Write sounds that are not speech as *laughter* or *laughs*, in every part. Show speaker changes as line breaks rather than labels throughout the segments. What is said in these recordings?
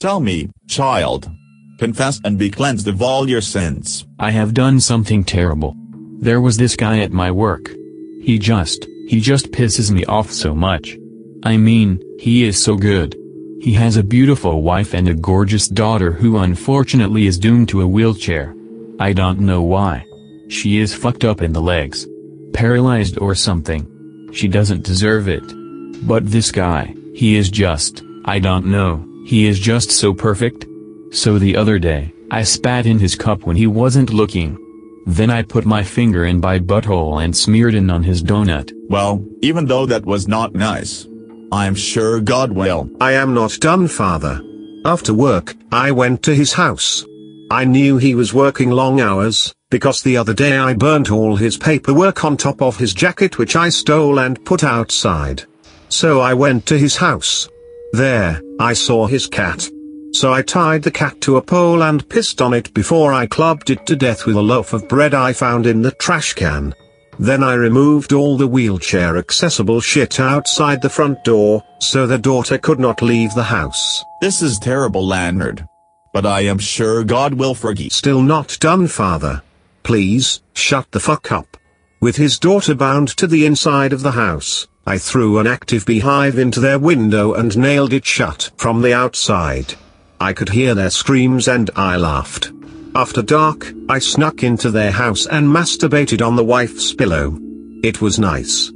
Tell me, child. Confess and be cleansed of all your sins.
I have done something terrible. There was this guy at my work. He just, he just pisses me off so much. I mean, he is so good. He has a beautiful wife and a gorgeous daughter who unfortunately is doomed to a wheelchair. I don't know why. She is fucked up in the legs. Paralyzed or something. She doesn't deserve it. But this guy, he is just, I don't know, he is just so perfect. So the other day, I spat in his cup when he wasn't looking. Then I put my finger in my butthole and smeared in on his donut.
Well, even though that was not nice. I'm sure God will.
I am not done, father. After work, I went to his house. I knew he was working long hours, because the other day I burnt all his paperwork on top of his jacket which I stole and put outside. So I went to his house. There, I saw his cat. So I tied the cat to a pole and pissed on it before I clubbed it to death with a loaf of bread I found in the trash can. Then I removed all the wheelchair accessible shit outside the front door, so the daughter could not leave the house.
This is terrible, Leonard. But I am sure God will forgive.
Still not done, father. Please, shut the fuck up. With his daughter bound to the inside of the house, I threw an active beehive into their window and nailed it shut from the outside. I could hear their screams and I laughed. After dark, I snuck into their house and masturbated on the wife's pillow. It was nice.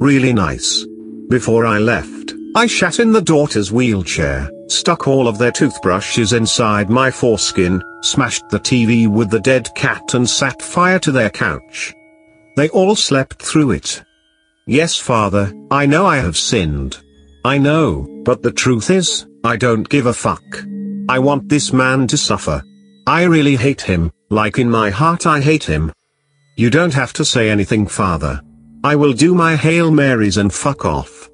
Really nice. Before I left, I shat in the daughter's wheelchair, stuck all of their toothbrushes inside my foreskin, smashed the TV with the dead cat and sat fire to their couch. They all slept through it. Yes, father, I know I have sinned. I know, but the truth is, I don't give a fuck. I want this man to suffer. I really hate him, like in my heart I hate him. You don't have to say anything, father. I will do my Hail Marys and fuck off.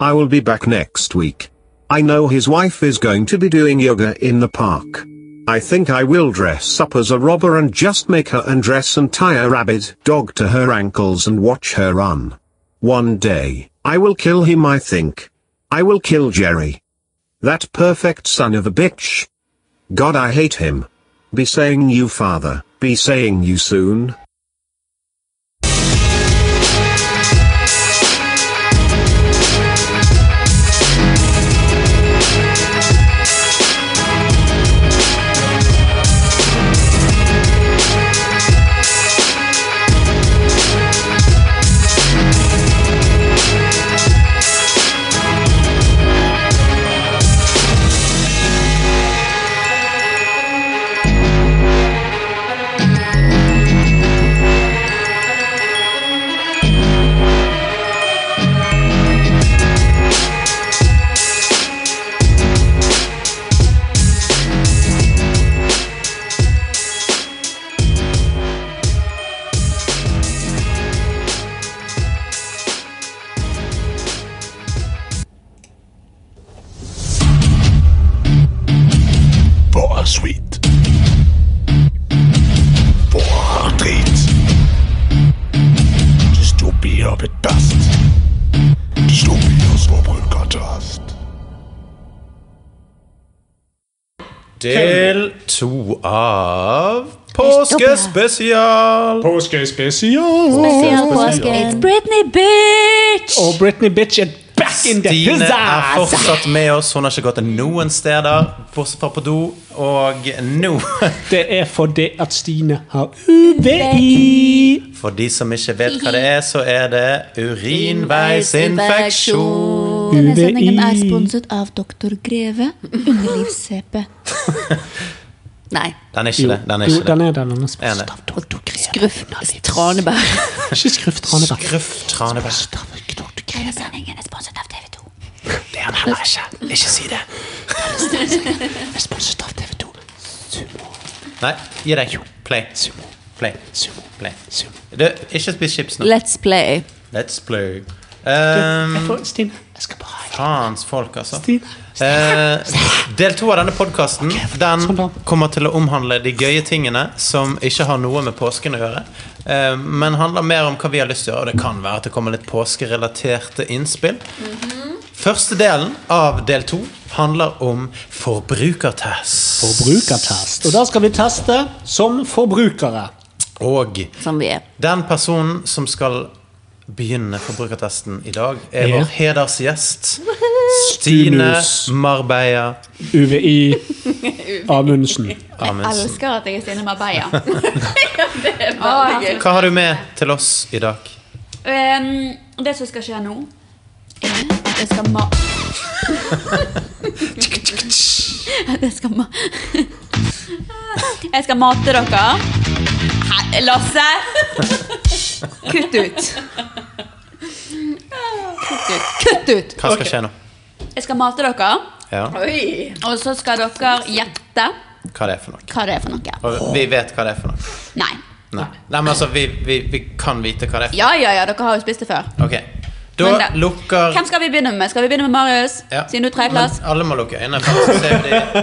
I will be back next week. I know his wife is going to be doing yoga in the park. I think I will dress up as a robber and just make her undress and tie a rabid dog to her ankles and watch her run. One day, I will kill him, I think. I will kill Jerry. That perfect son of a bitch. God, I hate him. Be saying you, father, be saying you soon.
Bara skit. Bara drit. Dystopier bedast. Dystopier småbrukertast.
Del to av Påskespesial!
Spesial påske. It's Britney, bitch!
Og Britney bitch er back in the
Stine er
huzzas!
fortsatt med oss. Hun har ikke gått noen steder, bortsett fra på do. Og nå, *laughs*
Det er fordi at Stine har UVI.
for de som ikke vet hva det er, så er det urinveisinfeksjon.
Denne sendingen er
UVI.
sponset av Dr. Greve, underlivs-CP. *laughs* Nei.
Den er ikke det. Den er
Jo,
ikke
den
det.
er den. Den er
Er
spist
den det?
av Dr. Greve.
Gruff. Tranebær.
Ikke skrift, Tranebær.
Gruff Tranebær.
Denne sendingen er sponset av TV 2.
Det er han heller ikke. Ikke si det. Den er sponset av TV 2. Sumo.
Nei, gi deg. Play. Play.
Sumo.
Play.
Sumo.
Du, ikke spis chips nå.
Let's play.
Let's play. Um,
Jeg får, Stine, jeg skal bare ha
Faens folk, altså.
Stine.
Eh, del to av denne podkasten
sånn da.
kommer til å omhandle de gøye tingene som ikke har noe med påsken å gjøre, eh,
Mhm.
men handler mer om hva vi har lyst til å gjøre. Og det kan være at det kommer litt påskerelaterte innspill. Første delen av del to handler om forbrukertest.
Forbrukertest. Og da skal vi teste som forbrukere.
Og
Som vi er.
den personen som skal begynne forbrukertesten i dag, er
Ja.
vår hedersgjest. Stine
Stunus.
Marbeia
*laughs*
UVI Amundsen.
Amundsen.
elsker at jeg er Stine Marbella. det er bare gøy.
Hva har du med til oss i dag?
Ehm, det som skal skje nå
Det skal ma... Det skal ma...
Jeg skal mate dere. Hæ, Lasse!
Kutt ut. Kutt ut.
Hva skal skje nå?
Jeg skal mate dere,
Ja,
Oi.
og så skal dere gjette
hva det er for noe?
hva det er for noe.
Og vi vet hva det er for noe.
Nei.
Nei, Nei men altså, vi, vi, vi kan vite hva det er.
Ja, ja, ja, dere har jo spist det før.
Ok, Da
Men da-
lukker
Hvem skal vi begynne med? Skal vi begynne med Marius?
Ja.
Siden du er tredjeplass?
Men Alle må lukke øynene, for ellers så ser jo
*laughs*
de,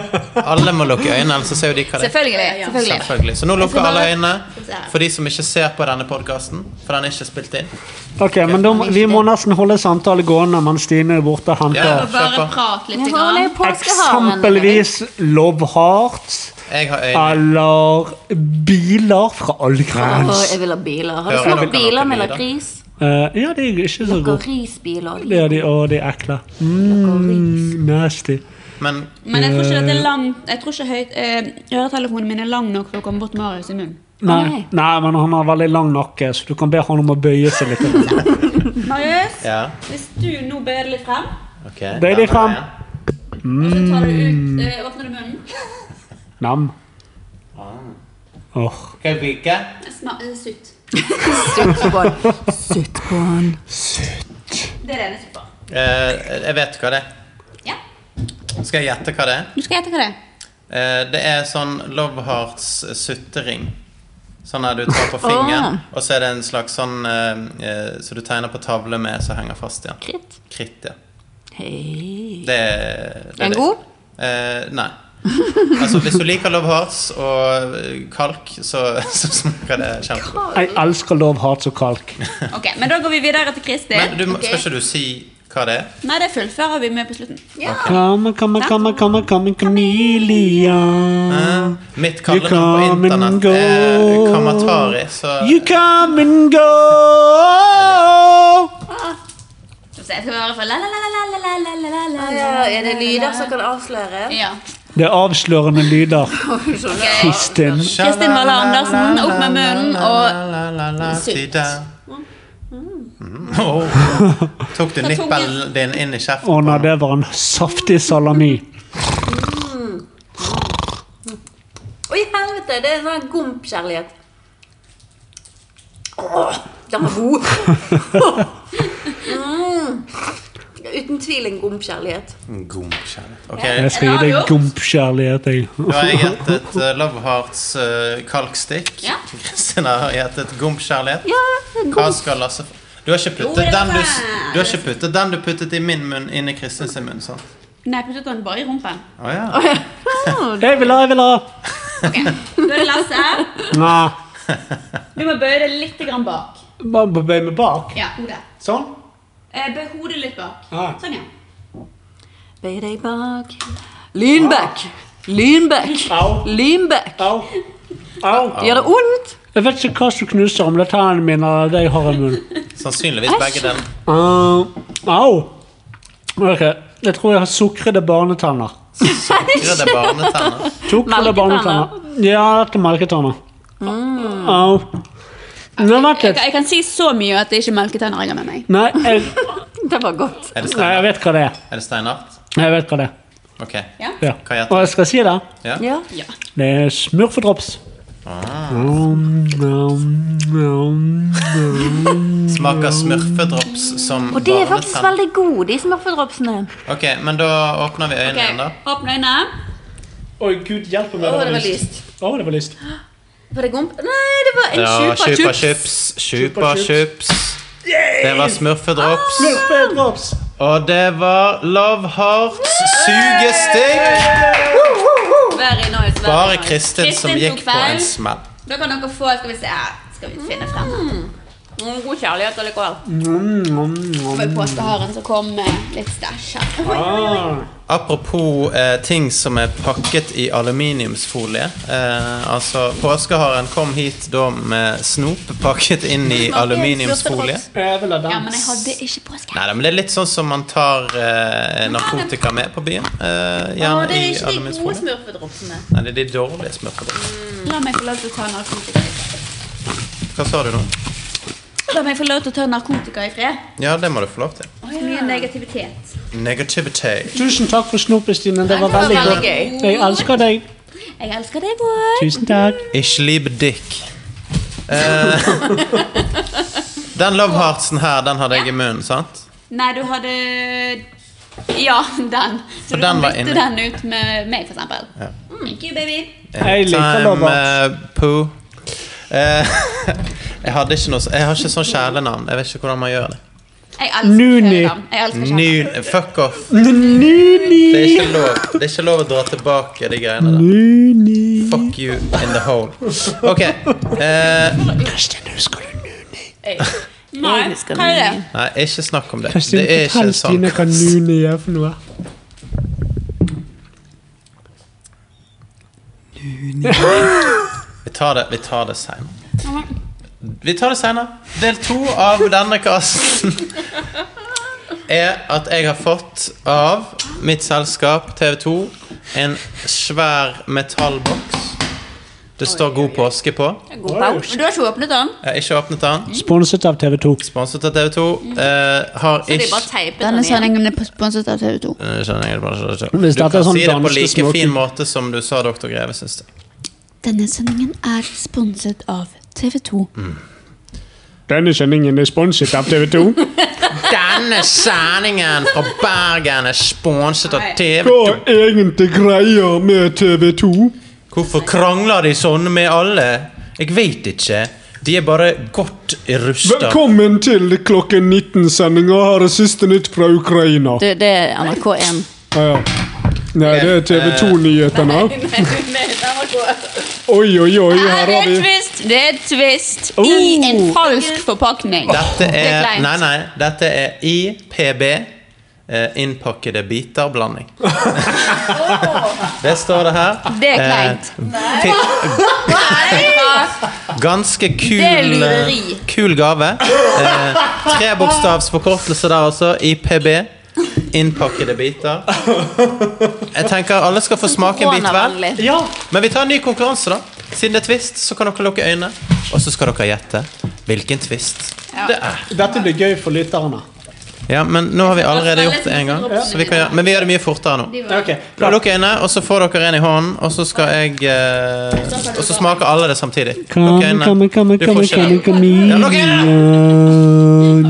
alle må lukke øynene, ellers så ser jo de hva det er.
Selvfølgelig.
Ja, ja.
selvfølgelig.
Selvfølgelig. Så nå lukker
skal bare-
alle øynene for de som ikke ser på denne podkasten. For den er ikke spilt inn.
Ok, men da, må- Vi må nesten holde samtale gående mens Stine er borte og
Ja,
henter
kjør på.
Prat litt.
Holder
Grann.
på
eksempelvis Love Heart
Jeg har øyne.
eller biler fra
Å,
Allgrens.
jeg vil ha biler. Har
Ja, jeg
du smakt
kan ha
biler med
biler.
lakris?
Eh, ja, det er ikke så godt.
Lakrisbiler.
Det er de, og de er ekle. Mm, nasty.
Men
Men jeg tror ikke dette er
Eh.
langt Jeg tror ikke høyt eh, Øretelefonen min er lang nok til å komme bort Marius i munnen.
Nei, nei, men han har veldig lang nakke, så du kan be han om å bøye seg litt.
Marius,
ja,
hvis du nå bøyer deg litt frem,
ok.
Bøy deg
Ja,
frem.
ja.
og så tar du
Mm.
ut eh, Åpner du munnen?
Nam. Åh,
Skal jeg vike?
Sma- eh, Sutt.
Sutt på han.
Det er det eneste på.
Eh, jeg vet hva det er.
Ja.
Skal jeg gjette hva det er?
Du skal gjette hva det er.
Eh, det er sånn Love Hearts eh, suttering. Sånn der du tar på fingeren, og så er det en slags sånn eh, eh, som du tegner på tavle med, som henger fast igjen.
Kritt.
Kritt, ja.
Hei.
Det, det
Er den
det.
god?
Eh, nei. Altså, hvis du liker Love Hearts og eh, kalk, så, *laughs* så smaker det kjempegodt.
jeg elsker Love Hearts og kalk.
Ok, Men da går vi videre til Kristin.
Men du, må- skal ikke du si hva det er?
Nei, det fullfører vi med på slutten.
Come, come, come, come, come, Camelia.
Mitt
You
kallenavn på
come and
internett
go.
er Kamatari, så
You come and go.
Så jeg skal høre fra la la la la la la la la la la
Ah, Er det lyder som kan avsløre?
Ja.
Det er avslørende lyder. Kristin.
Kristin Waller Andersen, opp med munnen og
Sutt. Oh. Tok du nippelen din inn i kjeften?
Å
på
nei,
henne?
det var en saftig salami.
Oi, helvete! Det er sånn gompkjærlighet. Åh, den var god! mm. Uten tvil en gompkjærlighet.
God kjærlighet. Ok,
Jeg skal gi deg gompkjærlighet, jeg.
Da har jeg gjettet eh, Love Hearts eh, kalkstikk.
*laughs* Ja.
Kristin har gjettet gomkjærlighet.
Ja,
Hva skal Lasse få? Du har ikke
Jo,
puttet
det er
den du, s-
sant.
du har ikke puttet den du puttet i min munn, inn i Kristin sin munn, sant?
Nei, puttet den bare i rumpen.
Å ja.
Jeg vil ha, jeg vil ha.
Da er det Lasse.
Nei.
Du må bøye deg litt grann bak.
Man må bøye meg bak.
Ja, hodet.
Sånn.
Eh, Bøy hodet litt bak.
Ja.
Sånn, ja.
Bøy deg bak. Lynbekk! Lynbekk!
Au.
Lynbekk!
Au. Au.
Gjør det vondt?
Jeg vet ikke hva som knuser, om det er tennene mine eller det jeg har i munnen.
Sannsynligvis begge den.
Uh, au. Ok, jeg tror jeg har sukrede barnetenner.
Grødde barnetenner.
Sukrede barnetenner. Ja, dette er melketenner. Au. Nei, vent
Jeg,
litt.
jeg kan si så mye at det ikke er melketenner jeg har med meg.
Nei, jeg,
Det var godt.
Er det
nei, jeg
steinart?
vet hva det er.
Er det steinart?
Jeg vet hva det er.
Ok.
Ja.
Hva heter
Og jeg skal si det.
Ja.
Ja.
Det er smurfedrops. Um, um, um.
Smaker smurfedrops som
Og de er faktisk
barnetenner.
veldig gode, de smurfedropsene.
Ok, men da åpner vi øynene igjen, da.
Åpne øynene.
Oi, gud hjelpe meg.
Å, det var lyst.
Å, det var lyst.
Var det gomp? Nei, det var en
Ja,
super
Chupa
chups.
Chups. Chupa Chups. Det var smurfedrops.
Smurfedrops.
Ah!
Og det var Love Hearts sugestikk.
Very nice. very
Bare
nice.
Kristin som
Kristin
gikk
tok
på
feil.
en smell.
Da kan dere få Skal vi se. Skal vi finne frem? Mm, God kjærlighet allikevel.
Og i påskeharen så kom eh, litt stæsj her.
Ah,
Apropos eh, ting som er pakket i aluminiumsfolie. Eh, altså, påskeharen kom hit da med snop pakket inn i aluminiumsfolie.
jeg vil ha
Ja,
den.
men jeg hadde ikke påske.
Nei da, men det er litt sånn som man tar eh, narkotika med på byen. Eh,
Å,
gjerne
det
i
er ikke de gode
aluminiumsfolie.
smurfedropsene.
Nei, det er de dårlige smørbrødene.
La meg få lov til å ta narkotika. i fred.
Hva sa du nå?
La meg få lov til å ta narkotika i fred.
Ja, det må du få lov til.
Så mye negativitet.
Negativity.
Tusen takk for snopet, Stine. Det var veldig
veldig
godt. Jeg elsker deg.
Jeg elsker deg, boy.
Tusen takk.
Ich liebe dick. Eh, *laughs* den love heartsen her, den hadde jeg i munnen, sant?
Nei, du hadde Ja, den. Så du
For den
kan
var
bytte
inne.
den ut med meg, for eksempel. Mm, Thank you, baby.
Jeg liker love hearts.
eh, poo. Eh, *laughs* jeg hadde ikke noe så- Jeg har ikke sånn kjælenavn. Jeg vet ikke hvordan man gjør det.
Jeg elsker
Nuni.
kjæledam. Jeg elsker kjæledam.
Ny, fuck off. Det er,
Nuni.
ikke lov. det er ikke lov å dra tilbake de greiene der.
Nuni.
Fuck you in the hole. Ok. eh,
Kristin, husker du Nuni?
Nei,
Jeg elsker
hva er det?
Nuni.
nei, ikke snakk om det.
Kanskje
Det
du
er ikke en
forteller Stine
sånn
hva Nuni er for noe?
Vi tar det, vi tar det senere. Vi tar det senere. Del to av denne kasten er at jeg har fått av mitt selskap TV2 en svær metallboks. Det står 'God påske' på.
God paus.
Men Du har ikke åpnet den?
Jeg har ikke åpnet den.
Sponset av TV2.
Sponset av TV2. Eh, har
Så de
ikke
bare teipet den igjen.
sendingen er sponset av TV 2.
Eh, skjønner jeg det bare ikke.
Hvis
Du
dette er
kan
sånn
si det på
danske
like
smoking.
fin måte som du sa Dr. Greve, syns jeg.
Denne sendingen er sponset av TV 2.
Mm.
Denne sendingen er sponset av TV2.
Denne sendingen fra Bergen er sponset av
Hva
TV2.
er egentlig greia med TV2?
Hvorfor krangler de sånn med alle? Jeg vet ikke. De er bare godt rusta.
Velkommen til klokken 19-sendinga. Her er siste nytt fra Ukraina.
Du, det er NRK1.
Ja, ja. Nei, det er
Eh.
TV2-nyhetene. Oi, oi, oi, her
Det
har
er
vi
twist! Det er twist i en falsk forpakning.
Dette
Det er
er
kleint.
Nei, nei. Dette er IPB. eh, Innpakkede biter-blanding. *laughs* det står det her.
Det er kleint.
Eh, fi- Ganske kul,
Det er lureri.
eh, kul gave. Eh, Trebokstavs forkortelse der også. IPB. Innpakkede biter. Jeg tenker alle skal få smake en bit hver.
Koronavennlig.
Ja, men vi tar en ny konkurranse, da. Siden det er twist, så kan dere lukke øynene. Og så skal dere gjette hvilken twist det er.
Dette blir gøy for lytterne.
Ja, men nå har vi allerede gjort det en gang, så vi kan gjøre, men vi gjør det mye fortere nå.
Ok,
Da Lukk øynene, og så får dere en i hånden, og så skal jeg eh, Og så smaker alle det samtidig. Lukk
Come, come, come,
øynene. Du får
come,
ikke
come,
det.
come in.
Ja, lukk øynene!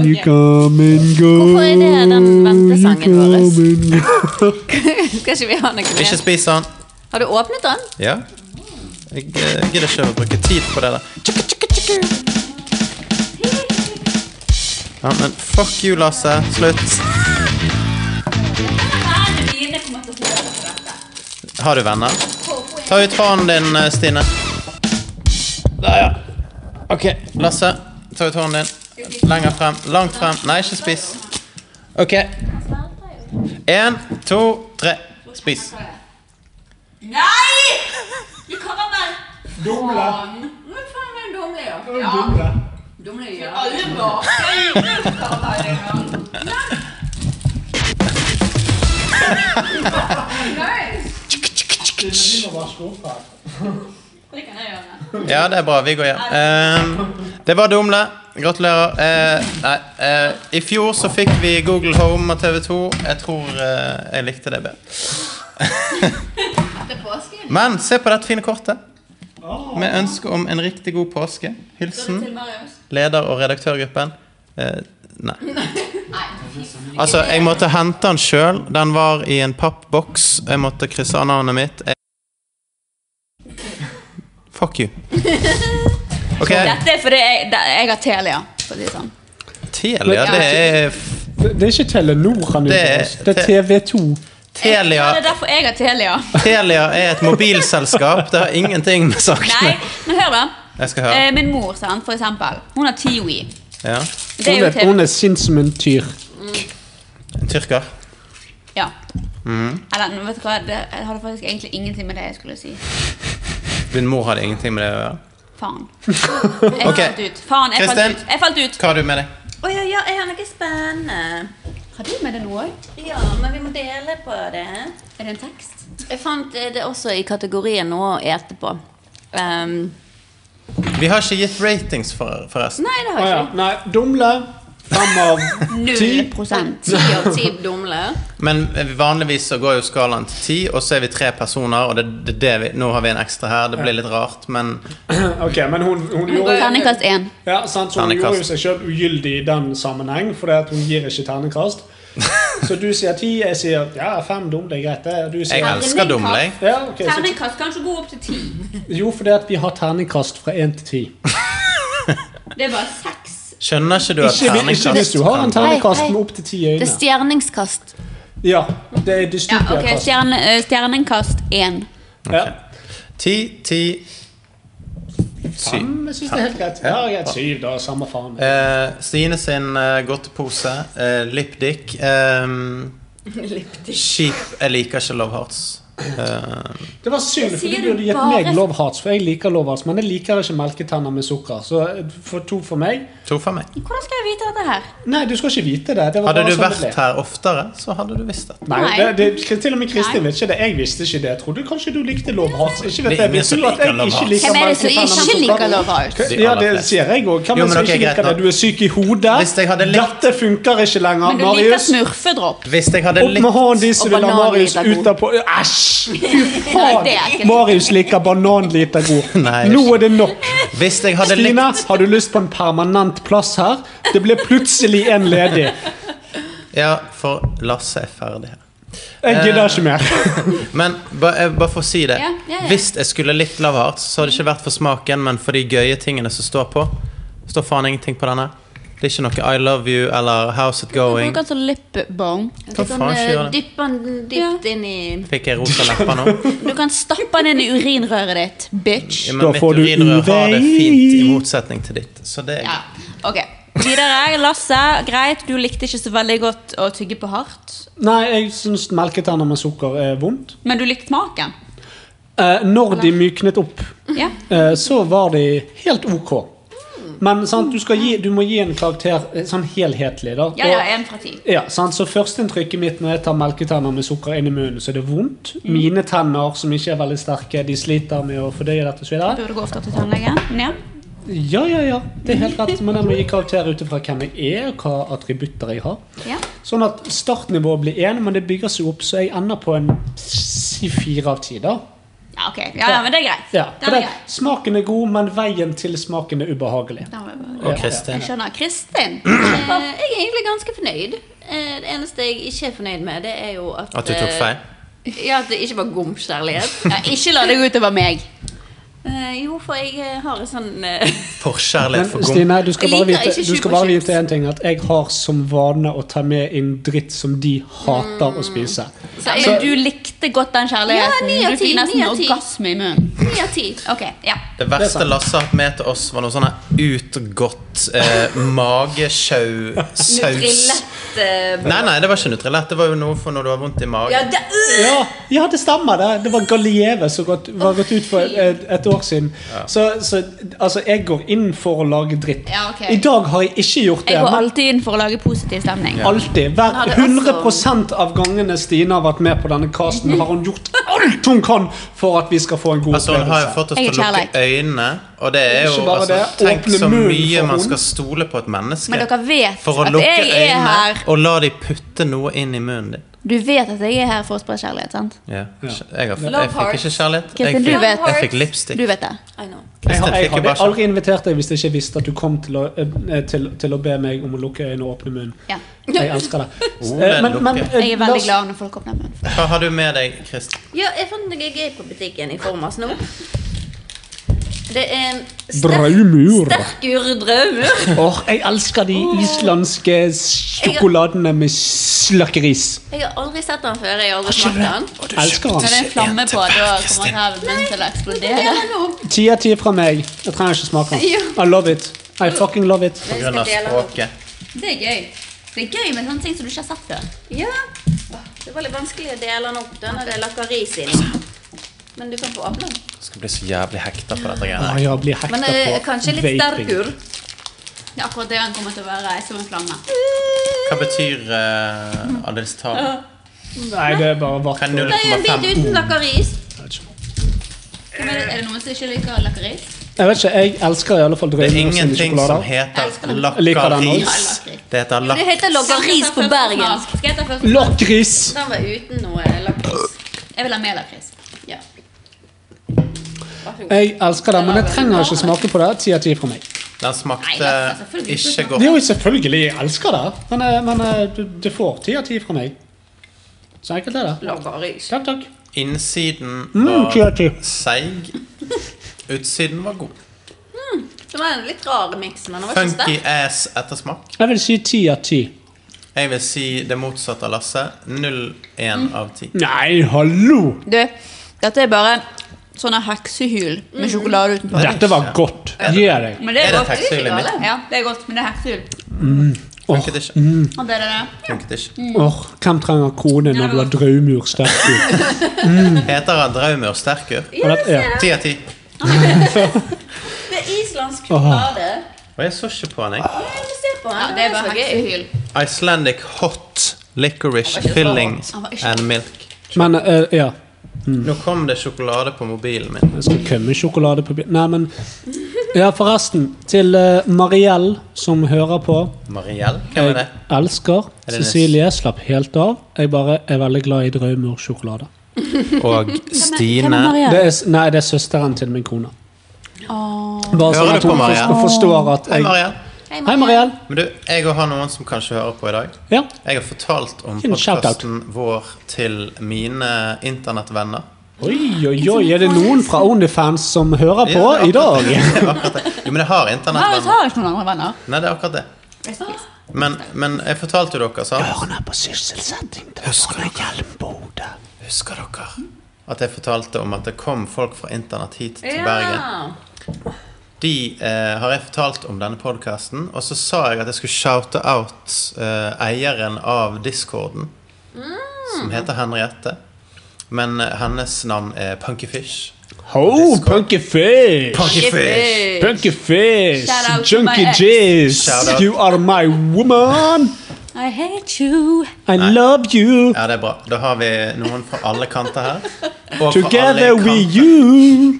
You come and go.
Hvorfor er det den ventesangen
you
vår?
come and go.
Skal ikke vi ha noe
Ikke
mer?
spis den.
Har du åpnet den?
Ja. Jeg eh, gidder ikke å bruke tid på det der. Tjukka, tjukka, tjukka. Ja, men fuck you, Lasse. Slutt. Har du venner? Ta ut hånden din, eh, Stine. Der, ja. Ok, Lasse. Ta ut hånden din. Lenger frem. Langt frem. Nei, ikke spis. Ok. En, to, tre. Spis.
Nei! Du kan være Hva faen er dumle, ja? Ja. Dumle, ja. Alle
Ja, det er bra. Vi går hjem. Ehm, det var Dumle. Gratulerer. Eh, nei, eh, I fjor så fikk vi Google Home og TV2. Jeg tror eh, jeg likte det bedre. Men se på dette fine kortet. Med ønske om en riktig god påske. Hilsen leder og redaktørgruppen. Eh, nei. Altså, jeg måtte hente den sjøl. Den var i en pappboks. Jeg måtte krysse av navnet mitt. Jeg... Fuck you. Ok,
Dette er fordi jeg, da- jeg har Telia. For å si det sånn.
Telia, det er
Det det er ikke Telenor han
Det er-
uttaler. Det er TV2.
Telia,
Ja, Det er derfor jeg har Telia.
Telia er et mobilselskap. Det har ingenting med
Nei,
sakene
men hør, da.
Jeg skal høre.
Eh, Min mor, sant, for eksempel, hun har Tiwi.
Ja.
Det er
Hun
jo
er,
TV.
hun er sint som en tyr.
En tyrker.
Ja.
Mm.
Eller, nå vet du hva, det jeg hadde faktisk egentlig ingenting med det jeg skulle si.
Din mor hadde ingenting med det å gjøre. *laughs*
Faen. Jeg
Ok.
falt ut. Faen, jeg
Kristin.
falt ut. Jeg falt ut.
Hva har du med deg?
Å ja, ja, jeg har noe spennende.
Har du med deg noe òg?
Ja, men vi må dele på det.
Er det en tekst?
Jeg fant eh, det også i kategorien noe å ete på. Ehm,
Vi har ikke gitt ratings, for, forresten.
nei, det
Å
har
ja.
jeg
Nei, dumle. Fem av *laughs*
ikke.
ti.
Null prosent. Ti av ti dumle.
Men vanligvis så går jo skalaen til ti, og så er vi tre personer, og det, det, er det vi, nå har vi en ekstra her. Det blir litt rart, men
Ok, men hun, hun gjorde
Terningkast én.
ja, sant, så hun
Terningkast.
gjorde jo seg selv ugyldig i den sammenheng, for hun gir ikke
*laughs*
terningkast. Så du sier ti, jeg sier ja, fem dumle er greit. det. Du
jeg
sier
elsker dumle, jeg.
ja, ok, så
Terningkast kanskje gå opp til ti.
Jo, fordi at vi har terningkast fra 1 til 10.
Det er bare seks.
Skjønner ikke du at
Ikke, vi- ikke hvis
terningkast
du har en terningkast
Hei, hei.
med opp til 10 øyne.
Det er stjerningskast.
Ja, det er
Ja, ok,
dystopiakast. Ja,
Stjerne, eh, stjerningkast én.
Ti, ti Syv.
Mm, Jeg synes det er helt greit. Ja, greit. Syv, da. Samme faen.
Eh, Stine sin eh, godtepose, eh, lipdick eh, Skip Jeg liker ikke Love Hearts. Eh,
Det var synd, for
sier
du burde
du
gitt
bare-
meg love hearts, for jeg liker love hearts, men jeg liker ikke melketenner med sukker. Så eh, for to for meg
to for meg.
Hvordan skal jeg vite dette her?
Nei, du skal ikke vite det. det var
Hadde du
bare sånn det ble.
vært her oftere, så hadde du visst det.
Nei,
Nei.
det, det, til og med Kristin vet ikke det. Jeg visste ikke det. Jeg trodde kanskje du likte love hearts. Ikke vet
Det er
jeg.
ingen
Visste
som
du at
liker
jeg
Love
ikke
Hearts.
liker
Hvem er det som
melketenner med
ikke
sukker?
liker Love Hearts?
De
Ja,
aller
det
fleste.
sier jeg òg. Hvem
Jo, men
er det som
ok,
ikke
greit
liker det?
nå.
Du er syk i hodet.
Hvis jeg hadde likt-
Dette funker ikke lenger,
Men du liker
Marius.
smurfedropp.
Hvis jeg hadde
Opp med
likt
hånden de som
Og
vil ha Marius
bananlitergod.
ut av på
*laughs*
Æsj! Fy
Nei,
faen!
det er ikke-
Marius liker
*laughs*
bananlitergod.
Nei, det er
Nå er det nok.
Hvis jeg hadde
Stine,
likt
har du lyst på en permanent plass her? Det ble plutselig en ledig.
Ja, for Lasse er ferdig her.
Jeg gidder ikke mer.
Eh. Men ba, jeg, bare for å si det.
Ja, ja, ja.
Hvis jeg skulle likt Love Hearts, så hadde det ikke vært for smaken, men for de gøye tingene som står på. Står faen ingenting på denne. Det er ikke noe I love you eller How's it
Du
going.
bruker altså lip balm.
Hva
Du
faen
kan
skal jeg gjøre?
eh, dyppe den dypt inn i
Fikk jeg rosa lepper
*laughs*
nå?
Du kan stappe den inn i urinrøret ditt, bitch.
Ja,
Da
men mitt
får du
urinrør har det
uvein.
fint i motsetning til ditt. Så det er
Ja, ok Videre, Lasse, greit, du likte ikke så veldig godt å tygge på hardt
Nei, jeg syns melketenner med sukker er vondt.
Men du likte smaken
Eh, når de myknet opp,
Ja,
eh, så var de helt ok. Men sant, du, skal gi, du må gi en karakter eh, sånn helhetlig, da.
ja, ja
Og-
en fra ti
Ja, sant? Så førsteinntrykket mitt når jeg tar melketenner med sukker inn i munnen, så er det vondt.
Mm.
Mine tenner, som ikke er veldig sterke, de sliter med å fordøye dette. og Så videre.
Burde gå ofte til tannlegen men ja.
ja, ja, ja. Det er helt rett. Men jeg må gi karakter ut ifra hvem jeg er, og hva attributter jeg har.
Ja.
Sånn at startnivået blir én, men det bygger seg opp, så jeg ender på en si fire av ti, da.
ja, ok, ja, ja, men det er greit
Ja,
Den
for
er
det,
grei.
smaken er god, men veien til smaken er ubehagelig.
Den var jo bare-
Og
Ja.
Kristin.
Jeg skjønner,
*clears throat*
Kristin eh, Jeg er egentlig ganske fornøyd eh, Det eneste jeg ikke er fornøyd med Det er jo at
At du tok
eh,
feil?
*laughs* Ja, at det ikke var gomskjærlighet ja, Ikke la det gå utover meg Eh, Jo, for jeg eh, har en sånn eh,
Forkjærlighet for
Men
gom.
Stine, du skal
Jeg
bare
liker
vite,
ikke
du skal bare
superchips.
vite en ting At jeg har som vane å ta med inn dritt som de hater å spise.
Mm.
Så jeg, du likte godt den kjærligheten.
Altså- Ja, ni av
du
ti,
fikk nesten
ni av ti.
orgasme i munnen.
Ni av ti.
Ok, ja.
Det verste Lasse har hatt med til oss, var noe sånn her utgått eh,
*laughs*
magesjau-saus.
Nutrillett eh,
Nei, nei, det var ikke Nutrilett. Det var jo noe for når du har vondt i
ja,
magen.
det, øh!
Ja, ja, det stemmer det. Det var Galieve som gått, var gått ut for et, et år siden. Så, så altså, jeg går inn for å lage dritt.
Ja, ok.
I dag har jeg ikke gjort det.
Jeg går
Men
alltid inn for å lage positiv stemning.
alltid. Hver
hadde
100 av gangene Stine har vært med på denne casten,
*laughs*
har hun gjort alt hun kan for at vi skal få en god
Altså, Hun har jo fått oss
Jeg
til
er
å lukke øynene, og det er
Ikke
jo
bare
altså,
det,
Tenk
åpne
så
munnen
mye
for
man
hun.
skal stole på et menneske.
Men dere vet
for å
at
lukke
jeg er
øynene
her.
og la de putte noe inn i munnen din.
Du vet at jeg er her for å spre kjærlighet, sant?
Ja. Jeg, har,
Love
jeg fikk ikke kjærlighet. Jeg
Kristin, du
fikk,
vet-
jeg fikk
Du
lipstick.
vet det.
I know.
Jeg, har,
Kristin fikk jo
jeg hadde
bare kjærlighet.
aldri invitert deg hvis jeg ikke visste at du kom til å, eh, til, til å be meg om å lukke øynene og åpne munnen.
Ja.
Jeg elsker
*laughs*
det.
Oh,
Eh, Men,
den
men,
lukker.
eh,
Jeg
la
er veldig
oss-
glad når folk åpner munnen.
sånn, Hva har du med deg, Kristin?
Ja, jeg fant noe gøy på butikken i form av snop. Det er
Braumur.
urdraumur.
Åh, jeg elsker de islandske sjokoladene med slakkeris.
Jeg har aldri sett den før. Jeg har aldri smakt den.
Elsker
Når det
han.
er en flamme på, da kommer munnen til å eksplodere.
Ti av ti fra meg. Jeg trenger ikke smake den. I love it. I fucking love it.
Vi
Grunn
skal
av
dele den.
språket.
Det er gøy. Det er gøy med sånne ting som du ikke har sett før. Ja. Det var litt vanskelig å dele den opp. Den er det lakris i. Men du kan få åpne den.
Jeg skal bli så jævlig hekta på dette greiene.
Ah,
her.
jeg blir hekta
Men eh,
på
kanskje litt
vaping.
sterk ur. Det er akkurat det han kommer til å være. Som en flamme.
Hva betyr uh,
Ah.
andelstallet?
Nei, det er bare
Kan
vatten.
du-
Det er jo en
0,5.
bit uten lakris.
vet
Hvem Er det, er det noen som ikke liker lakris?
Jeg vet ikke, jeg elsker i alle fall
Det er
drømmer sine
ingenting som
sjokolader.
heter
Liker den også.
lakkaris. Det heter
Det heter lakris på bergensk.
Skal jeg ta først?
Lakris!
Den var uten noe lakris. Jeg vil ha mer lakris. Ja.
Jeg elsker det, men jeg trenger ikke smake på det. 10 av 10 fra meg.
Den
Nei,
smakte
altså, selvfølgelig ikke.
ikke
Det er
godt.
jo selvfølgelig jeg elsker det, men, eh, men eh, du- du får 10 av 10 fra meg. Så enkelt er det.
Lakris.
Takk, takk.
Innsiden
Mm, 10
var
av 10.
seig. Utsiden var god.
Det var en litt rar miks, men den var ikke sterk.
Funky ass ettersmak.
Jeg vil si 10 av 10.
Jeg vil si det motsatte av Lasse. 0,1 av 10.
Nei, hallo!
Du, dette er bare sånne heksehyl med sjokolade utenpå.
Dette var godt. Gi deg.
Men det
Er
er,
det
godt.
et heksehyl i midten?
Ja, det er godt, men det er heksehyl.
Funket ikke.
Og det er det.
Funket ikke.
Åh, Hvem trenger kone når du har draumur sterk
*laughs*
ut?
Heter han Draumur sterkur?
Og dette er-
10 av 10.
Det er islandsk sjokolade.
Og jeg så ikke på han, jeg.
Se på den. Ja, det er bare heksehyl.
Icelandic hot licorice filling and milk.
Men eh, ja,
Nå kom det sjokolade på mobilen min.
jeg skal kømme sjokolade på bi- Nei, men Ja, forresten. Til eh, Mariell som hører på.
Mariell? Hvem er
Jeg
det?
elsker
Er det
Cecilie. Slapp helt av. Jeg bare er veldig glad i drømmersjokolade.
Og Stine.
Det er, s- nei, det er søsteren til min kone. Bare
Hører
sånn at
du på,
hun
Mariell?
forstår, forstår at
Hei,
jeg
Mariell.
Hei, Mariell.
Men du, jeg òg har noen som kanskje hører på i dag.
Ja.
Jeg har fortalt om
Gi en shout-out.
podkasten vår til mine internettvenner.
Oi, oi, oi. Er det noen fra Onlyfans som hører på
Ja,
i
det er akkurat
dag?
det. *laughs* Det er akkurat det. Jo, men jeg har
Nei, jeg
internettvenner.
har ikke noen andre venner. Ah.
Nei, det er akkurat det. Men, men jeg fortalte jo dere, sant?
Ørene på sysselsetting. Det er bare hjelm på hodet.
Husker dere at jeg fortalte om at det kom folk fra internett hit til Bergen? De eh, har jeg fortalt om denne podkasten, og så sa jeg at jeg skulle shoute out eh, eieren av discorden, Mm. som heter Henriette. Men eh, hennes navn er Punkyfish.
Ho, punky fish!
Punkyfish!
Punky fish!
Shout out to
Junkie
my ex.
Shout
jizz!
out.
You are my woman!
I hate you.
I love you!
Ja, det er bra. Da har vi noen fra alle kanter her. Og fra alle
Together we
kanter.
you!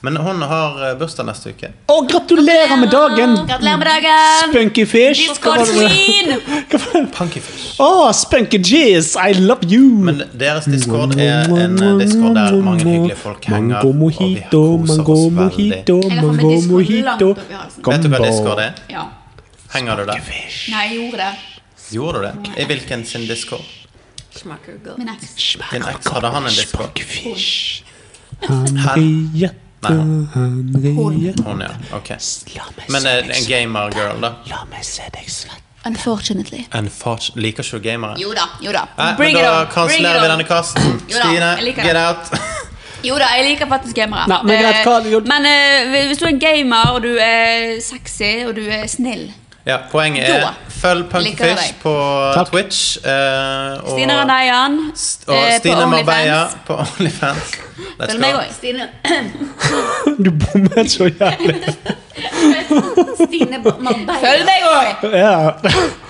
Men hun har eh, bursdag neste uke.
Og gratulerer med dagen,
Gratulerer med dagen.
punky fish! Hva var
Discord
det du-
queen.
Punkyfish.
Åh, spunky jizz! I love you!
Men deres discord er en eh, discord der mange hyggelige folk henger.
Mango mojito,
og vi
mango
koser oss
mojito,
veldig.
Jeg
mango
har fått en discord langt
mojito.
opp i halsen.
Vet du hva discord er?
Ja.
Henger du der?
Nei, jeg gjorde det.
Gjorde du det? I hvilken sin discord?
Min eks.
Din eks hadde han en discord? Nei,
Henriette,
hun.
Henriette.
Hun, ja. Ok.
La meg
Men
se
eh,
deg
en
svette.
gamer-girl, da?
La meg se deg svette.
Unfortunately.
En fart Liker ikke du gamere?
Jo da, jo da.
Nei, Eh, men
Bring it
da
on. Bring
kansellerer vi
it
denne
on.
kasten.
Jo da,
Stine,
jeg liker
get
det.
out.
Jo da, jeg liker faktisk gamere.
Nei, men greit, hva-
Eh, men eh, hvis du er en gamer, og du er sexy, og du er snill
Ja, poenget er
Da
Følg
liker jeg
Punkfish
deg.
på
Takk.
Twitch. eh, og
Stine Ranayan
st- og Stine Marbeia på OnlyFans. Let's
Eh, Følg meg
go.
òg. Stine,
Du bommet så jævlig.
Stine Marbeia. Følg meg òg!
Ja.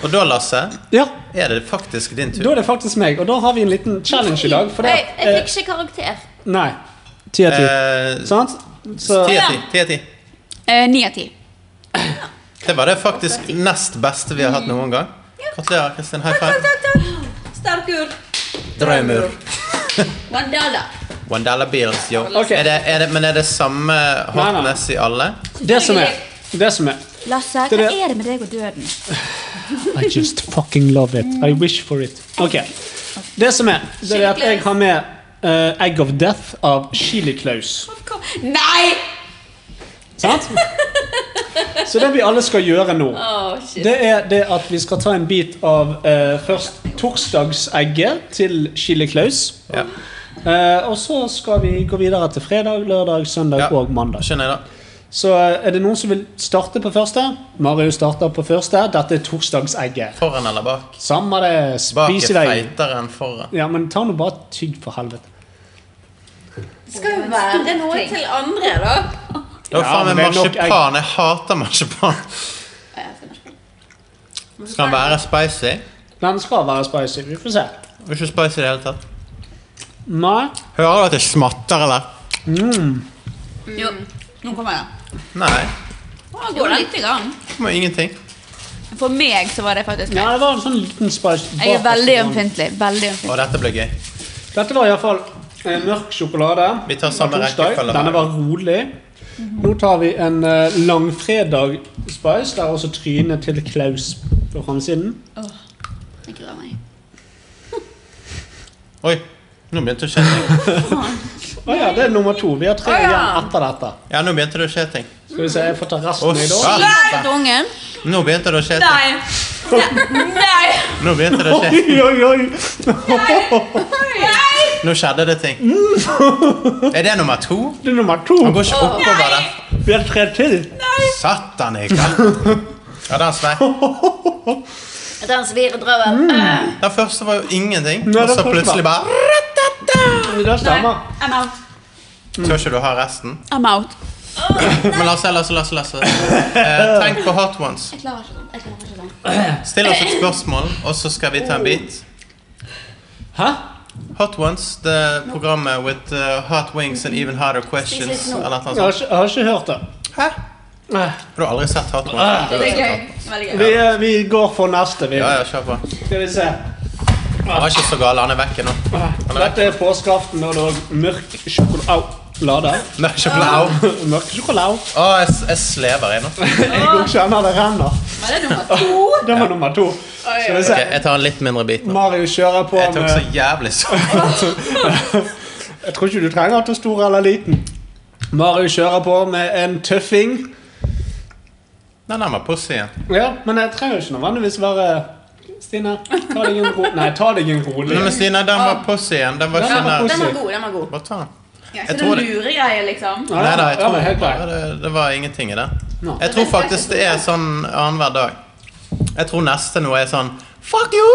Og da, Lasse,
ja,
er det faktisk din tur.
da er det faktisk meg, og da har vi en liten challenge i dag. For det, eh,
Jeg, jeg fikk ikke karakter.
Nei. Ti av ti.
Eh,
Sant? Så
Ti av ti. ti av ti.
Eh, Ni av ti.
Det var det faktisk nest beste vi har hatt noen gang. Gratulerer, Kristin. High five.
Sterk ur.
Drømmer.
*laughs* One dollar.
One dollar bills, yo.
Ok.
Er det, er det, men er det samme hotness i alle?
det som er Det som er
Lasse,
Det
hva
er det.
er det med deg og døden?
I just fucking love it. I wish for it. Ok. Det som er, det er at jeg har med eh, Egg of Death av Chili Claus.
Nei!
Sant? Så det vi alle skal gjøre nå,
Åh, shit.
det er det at vi skal ta en bit av eh, først torsdagsegget til Chili Claus.
Ja.
Eh, og så skal vi gå videre til fredag, lørdag, søndag
Ja.
og mandag.
Skjønner jeg, da.
Så eh, er det noen som vil starte på første? Mario starter på første. Dette er torsdagsegget.
Foran eller bak?
Samme det,
Bak
spis
er
i vei.
feitere enn foran.
Ja, men ta nå bare tygg, for helvete.
Skal jo være noe til andre, da.
Det var
Ja,
faen
men
meg
det er nok
marsipan. Jeg hater marsipan. Skal den være spicy?
Den skal være spicy. Vi får se.
Og Ikke spicy i det hele tatt.
Nei.
Hører du at jeg smatter, eller?
Jo, nå kommer jeg.
Nei.
Mm. Nå går det litt i gang.
Det kommer ingenting.
For meg så var det faktisk
Ja, det var en sånn liten spice.
Jeg er veldig
bakgrunn.
ømfintlig. Veldig
Og
ømfintlig.
dette blir gøy.
Dette var iallfall eh, mørk sjokolade.
Vi tar samme
Fra torsdag.
rekkefølge.
Denne var rolig. Nå tar vi en eh, langfredag spice. Der er også trynet til Klaus på framsiden.
Jeg gruer meg.
Oi, nå begynte det å skje ting.
Å ja, det er nummer to. Vi har tre
Å ja.
igjen etter dette.
Ja, nå begynte det å skje ting.
Skal vi se, jeg får ta
Å,
resten jeg da.
satan.
Litt ungen.
Nå begynte det å skje ting.
Nei! Nei!
Nå begynte det å skje.
*laughs* Oi, oi, oi!
Nei!
Nå skjedde det ting. Er det nummer to?
Det er nummer to.
Han går ikke oppover der.
Vi har tre til.
Satan, Mikael. Ja, den sveik.
Den svir og drøver.
Den første var jo ingenting,
Mm. Nei,
og
den
så
første
plutselig bare
Det stemmer.
I'm out.
Tør ikke du ha resten?
I'm out.
Men Lasse, Lasse, Lasse, Lasse. Eh, tenk på hot ones.
Jeg klarer ikke sånn. Jeg klarer ikke sånn.
Still oss et spørsmål, og så skal vi ta en bit.
Hæ?
Hot ones, det programmet with uh, hot wings and even harder questions.
Spis litt nå.
Eller noe
Jeg har
sånt.
ikke, jeg har ikke hørt det.
Hæ?
Nei.
Har du aldri sett hot ones?
Det er gøy. Veldig
Vi,
gøy.
eh, vi går for neste, vi.
Ja, ja, kjør på.
Skal vi se.
Han var ikke så gal, han er vekke nå.
Dette er påskeaften, og det er mørk sjokolade.
Nei, ikke blau.
*laughs* Mørk sjokolade.
Å, jeg, jeg slever jeg nå.
Jeg òg kjenner det renner.
Var det nummer to?
Det var nummer to. Skal vi se.
Ok, jeg tar en litt mindre bit nå.
Mario kjører på
Jeg tok så
med
jævlig så
Jeg tror ikke du trenger at du er stor eller liten. Mario kjører på med en tøffing.
Nei, den var pussig igjen.
Ja, men jeg trenger jo ikke nødvendigvis være Stine, ta deg en *laughs* ro... Nei, ta deg en rolig.
Nei, men Stine, den var pussig igjen. Den var
Den
ikke
var
nær.
pussy.
Den var god. den var god.
Bare ta den.
Ja,
Jeg
så det
tror
er
det-
luregreier, liksom.
Ja,
Nei da, jeg
ja, men
tror
helt
bare
greit.
det, det var ingenting i det.
Nå.
Jeg tror faktisk det er sånn annenhver dag. Jeg tror neste nå er sånn Fuck you!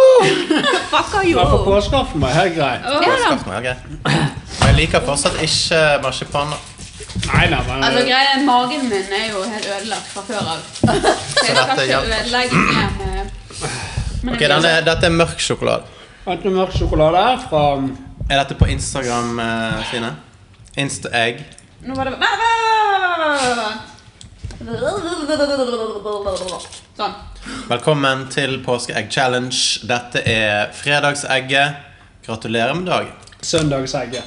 Fucker
Ja, for
jo.
påskeaften var helt grei.
Ja, da.
Skaff meg, ok. Men jeg liker fortsatt ikke marsipan.
Nei, nei, men
Altså, greia er, Magen min er jo helt ødelagt fra før av. Så jeg
dette
skal ikke
hjelper.
ødelegge mer
eh.
med
Ok, denne, Dette er mørk sjokolade.
Enten mørk sjokolade fra um,
Er dette på Instagram, eh, Stine? Insta-egg.
Nå var det Vent, vent, vent, vent, vent, vent. Sånn.
Velkommen til påskeegg-challenge. Dette er fredagsegget. Gratulerer med dagen.
søndagsegget.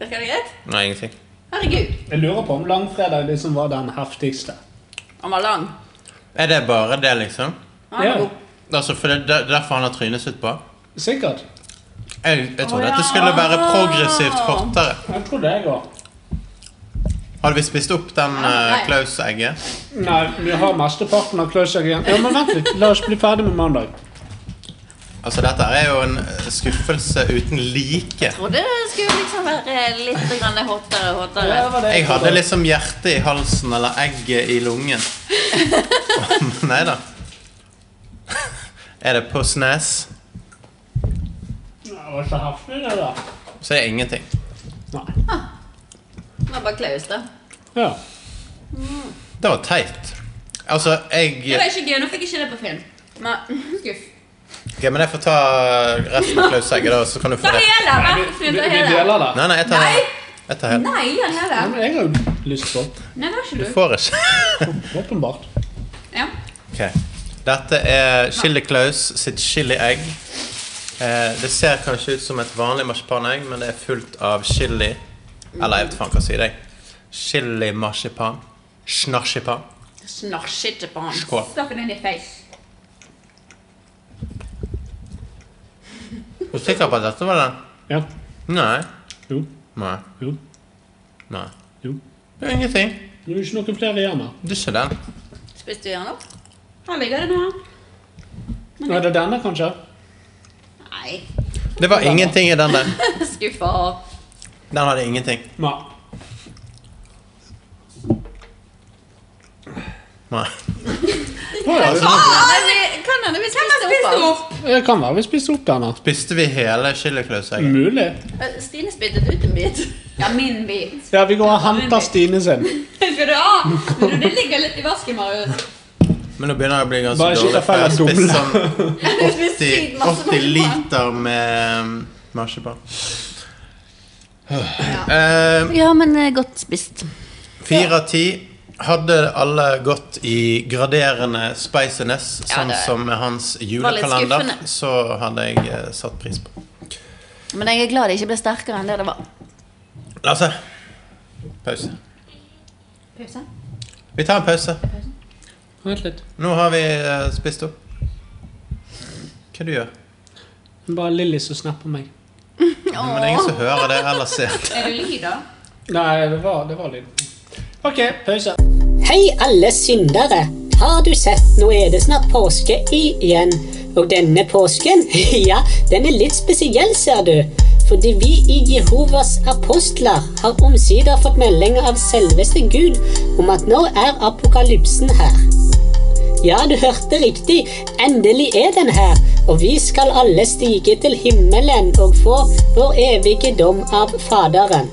Virker det greit?
Nei, ingenting.
Herregud.
Jeg lurer på om langfredag liksom var den heftigste.
Han var lang.
Er det bare det, liksom?
Han var
Ja.
god.
Altså, for det det er derfor han har trynet sitt på?
Sikkert.
Jeg, jeg trodde dette skulle være progressivt kortere.
Jeg tror det, jeg òg.
Hadde vi spist opp den eh, Klaus-egget?
Nei, vi har mesteparten av kløsjegget igjen. Ja, men vent litt, la oss bli ferdig med mandag.
Altså, dette er jo en eh, skuffelse uten like.
Trodde det skulle liksom være litt grann hottere og hottere.
Det var det
Jeg hadde
trodde.
liksom hjertet i halsen eller egget i lungen. Nei da. Er det på snes,
Det var så heftig, det der.
så er det ingenting.
Nei.
Det var bare Klaus, da.
Ja.
Det var teit. Altså,
Det
jeg
var ikke gøy. Nå fikk jeg ikke det på film. Men skuff.
Ok, Men jeg får ta resten av Klaus-egget, da, så kan du få
Ta
det.
hele! Vær
Vi,
funnet
vi
hele.
deler det.
Nei, nei, jeg tar hele. Jeg tar hele.
Nei, han hele.
Men jeg har jo lyst på
Nei, var ikke du?
Får ikke.
Åpenbart.
Ja.
Ok. Dette er Chili Klaus sitt chiliegg. Eh, det ser kanskje ut som et vanlig marsipanegg, men det er fullt av chili. Eller jeg vet faen hva jeg sier jeg. Chili-marsipan. Snarsipan.
Snasj ikke på han.
Skål.
Stapp den inn i face.
Er du sikker på at dette var den?
Ja.
Nei.
Jo.
Nei.
Jo.
Nei.
Jo.
Det er ingenting.
Det er jo ikke noen flere igjen her.
Det er ikke den.
Spiste du den opp?
Her ligger den her.
Nå er det denne, kanskje?
Nei. *laughs*
Det var ingenting i den der.
Skuffa.
Den hadde ingenting.
Nei.
Nei.
ja, det er sant.
Kan hende vi spiste opp alt.
Det kan være vi spiste opp denne.
Spiste vi hele chiliklausen?
Mulig.
Eh, Stine spyttet ut en bit. Ja, min bit.
Ja, vi går og henter Stine sin.
Skal du ha? Men du, det ligger litt i vasken, Marius.
Men nå begynner jeg å bli ganske
Bare ikke
dårlig. For jeg har
tilfelle
spist
dumle.
sånn
Du
80,
spiste sykt
80
masse marsipan.
liter med um, marsipan. Eh,
Ja, men eh, godt spist.
Fire av ti. Hadde alle gått i graderende spiciness, sånn
det
som med hans
litt
julekalender,
skuffende.
så hadde jeg eh, satt pris på.
Men jeg er glad det ikke ble sterkere enn det det var.
Lasse. Pause.
Pause?
Vi tar en pause.
Vent litt.
Nå har vi eh, spist opp. Hva du gjør
Det er Bare Lilly som snapper meg.
Men det er ingen som hører det eller ser det.
Er det lyd, da?
Nei, det var, det var lyd. OK, pause.
Hei, alle syndere! Har du sett, nå er det snart påske igjen. Og denne påsken, *laughs* ja, den er litt spesiell, ser du. Fordi vi i Jehovas apostler har omsider fått melding av selveste Gud om at nå er apokalypsen her. Ja, du hørte riktig. Endelig er den her. Og vi skal alle stige til himmelen og få vår evige dom av Faderen.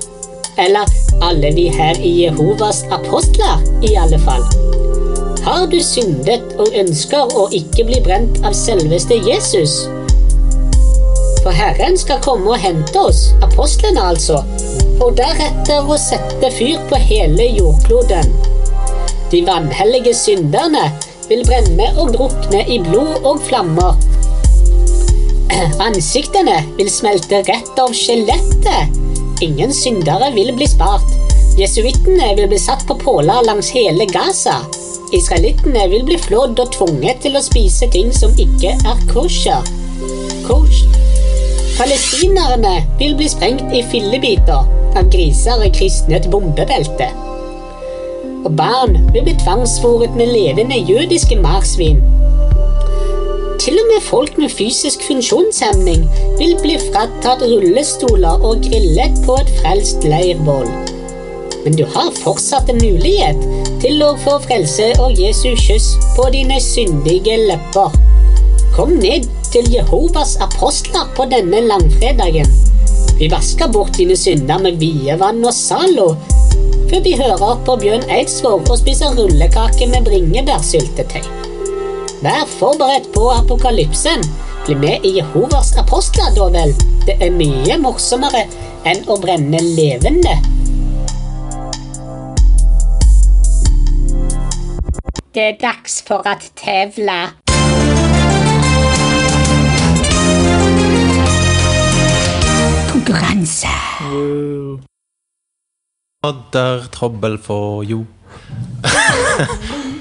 Eller alle vi her i Jehovas apostler, i alle fall. Har du syndet og ønsker å ikke bli brent av selveste Jesus? For Herren skal komme og hente oss, apostlene altså, og deretter å sette fyr på hele jordkloden. De vanhellige synderne vil brenne og drukne i blod og flammer. Ansiktene vil smelte rett av skjelettet. Ingen syndere vil bli spart. Jesuittene vil bli satt på påler langs hele Gaza. Israelittene vil bli flådd og tvunget til å spise ting som ikke er kosher. Kosh. Palestinerne vil bli sprengt i fillebiter av griser i kristnet bombebelte og barn vil bli tvangsfôret med levende jødiske marsvin. Til og med folk med fysisk funksjonshemning vil bli fratatt rullestoler og grillet på et frelst leirbål. Men du har fortsatt en mulighet til å få frelse og Jesu kyss på dine syndige lepper. Kom ned til Jehovas apostler på denne langfredagen. Vi vasker bort dine synder med vievann og Zalo, før vi hører på Bjørn Eidsvåg og spiser rullekake med bringebærsyltetøy. Vær forberedt på apokalypsen. Bli med i Jehovas apostler, da vel. Det er mye morsommere enn å brenne levende. Det er dags for at tevla. Konkurranse.
Odder, trøbbel for *laughs* jo.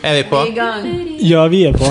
er vi på?
Ja, vi er på.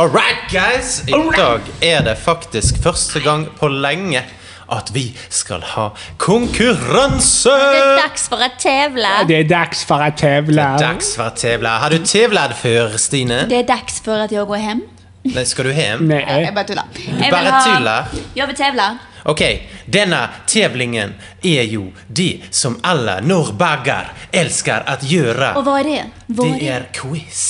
All right, guys! I dag er det faktisk første gang på lenge at vi skal ha konkurranse!
Det er dags for å tevle.
Det er dags for å tevle.
Dags for tevla. Har du tevlet før, Stine?
Det er dags for at jeg går hjem.
Nei, skal du hjem?
Nei.
Jeg bare tuller.
Du
Jeg vil
bare
ha-
tuller.
Jeg vil tevle.
Ok, denne tevlingen er jo det som alle nordbagger elsker å gjøre.
Og hva er det? Hva
Det
er det?
er quiz.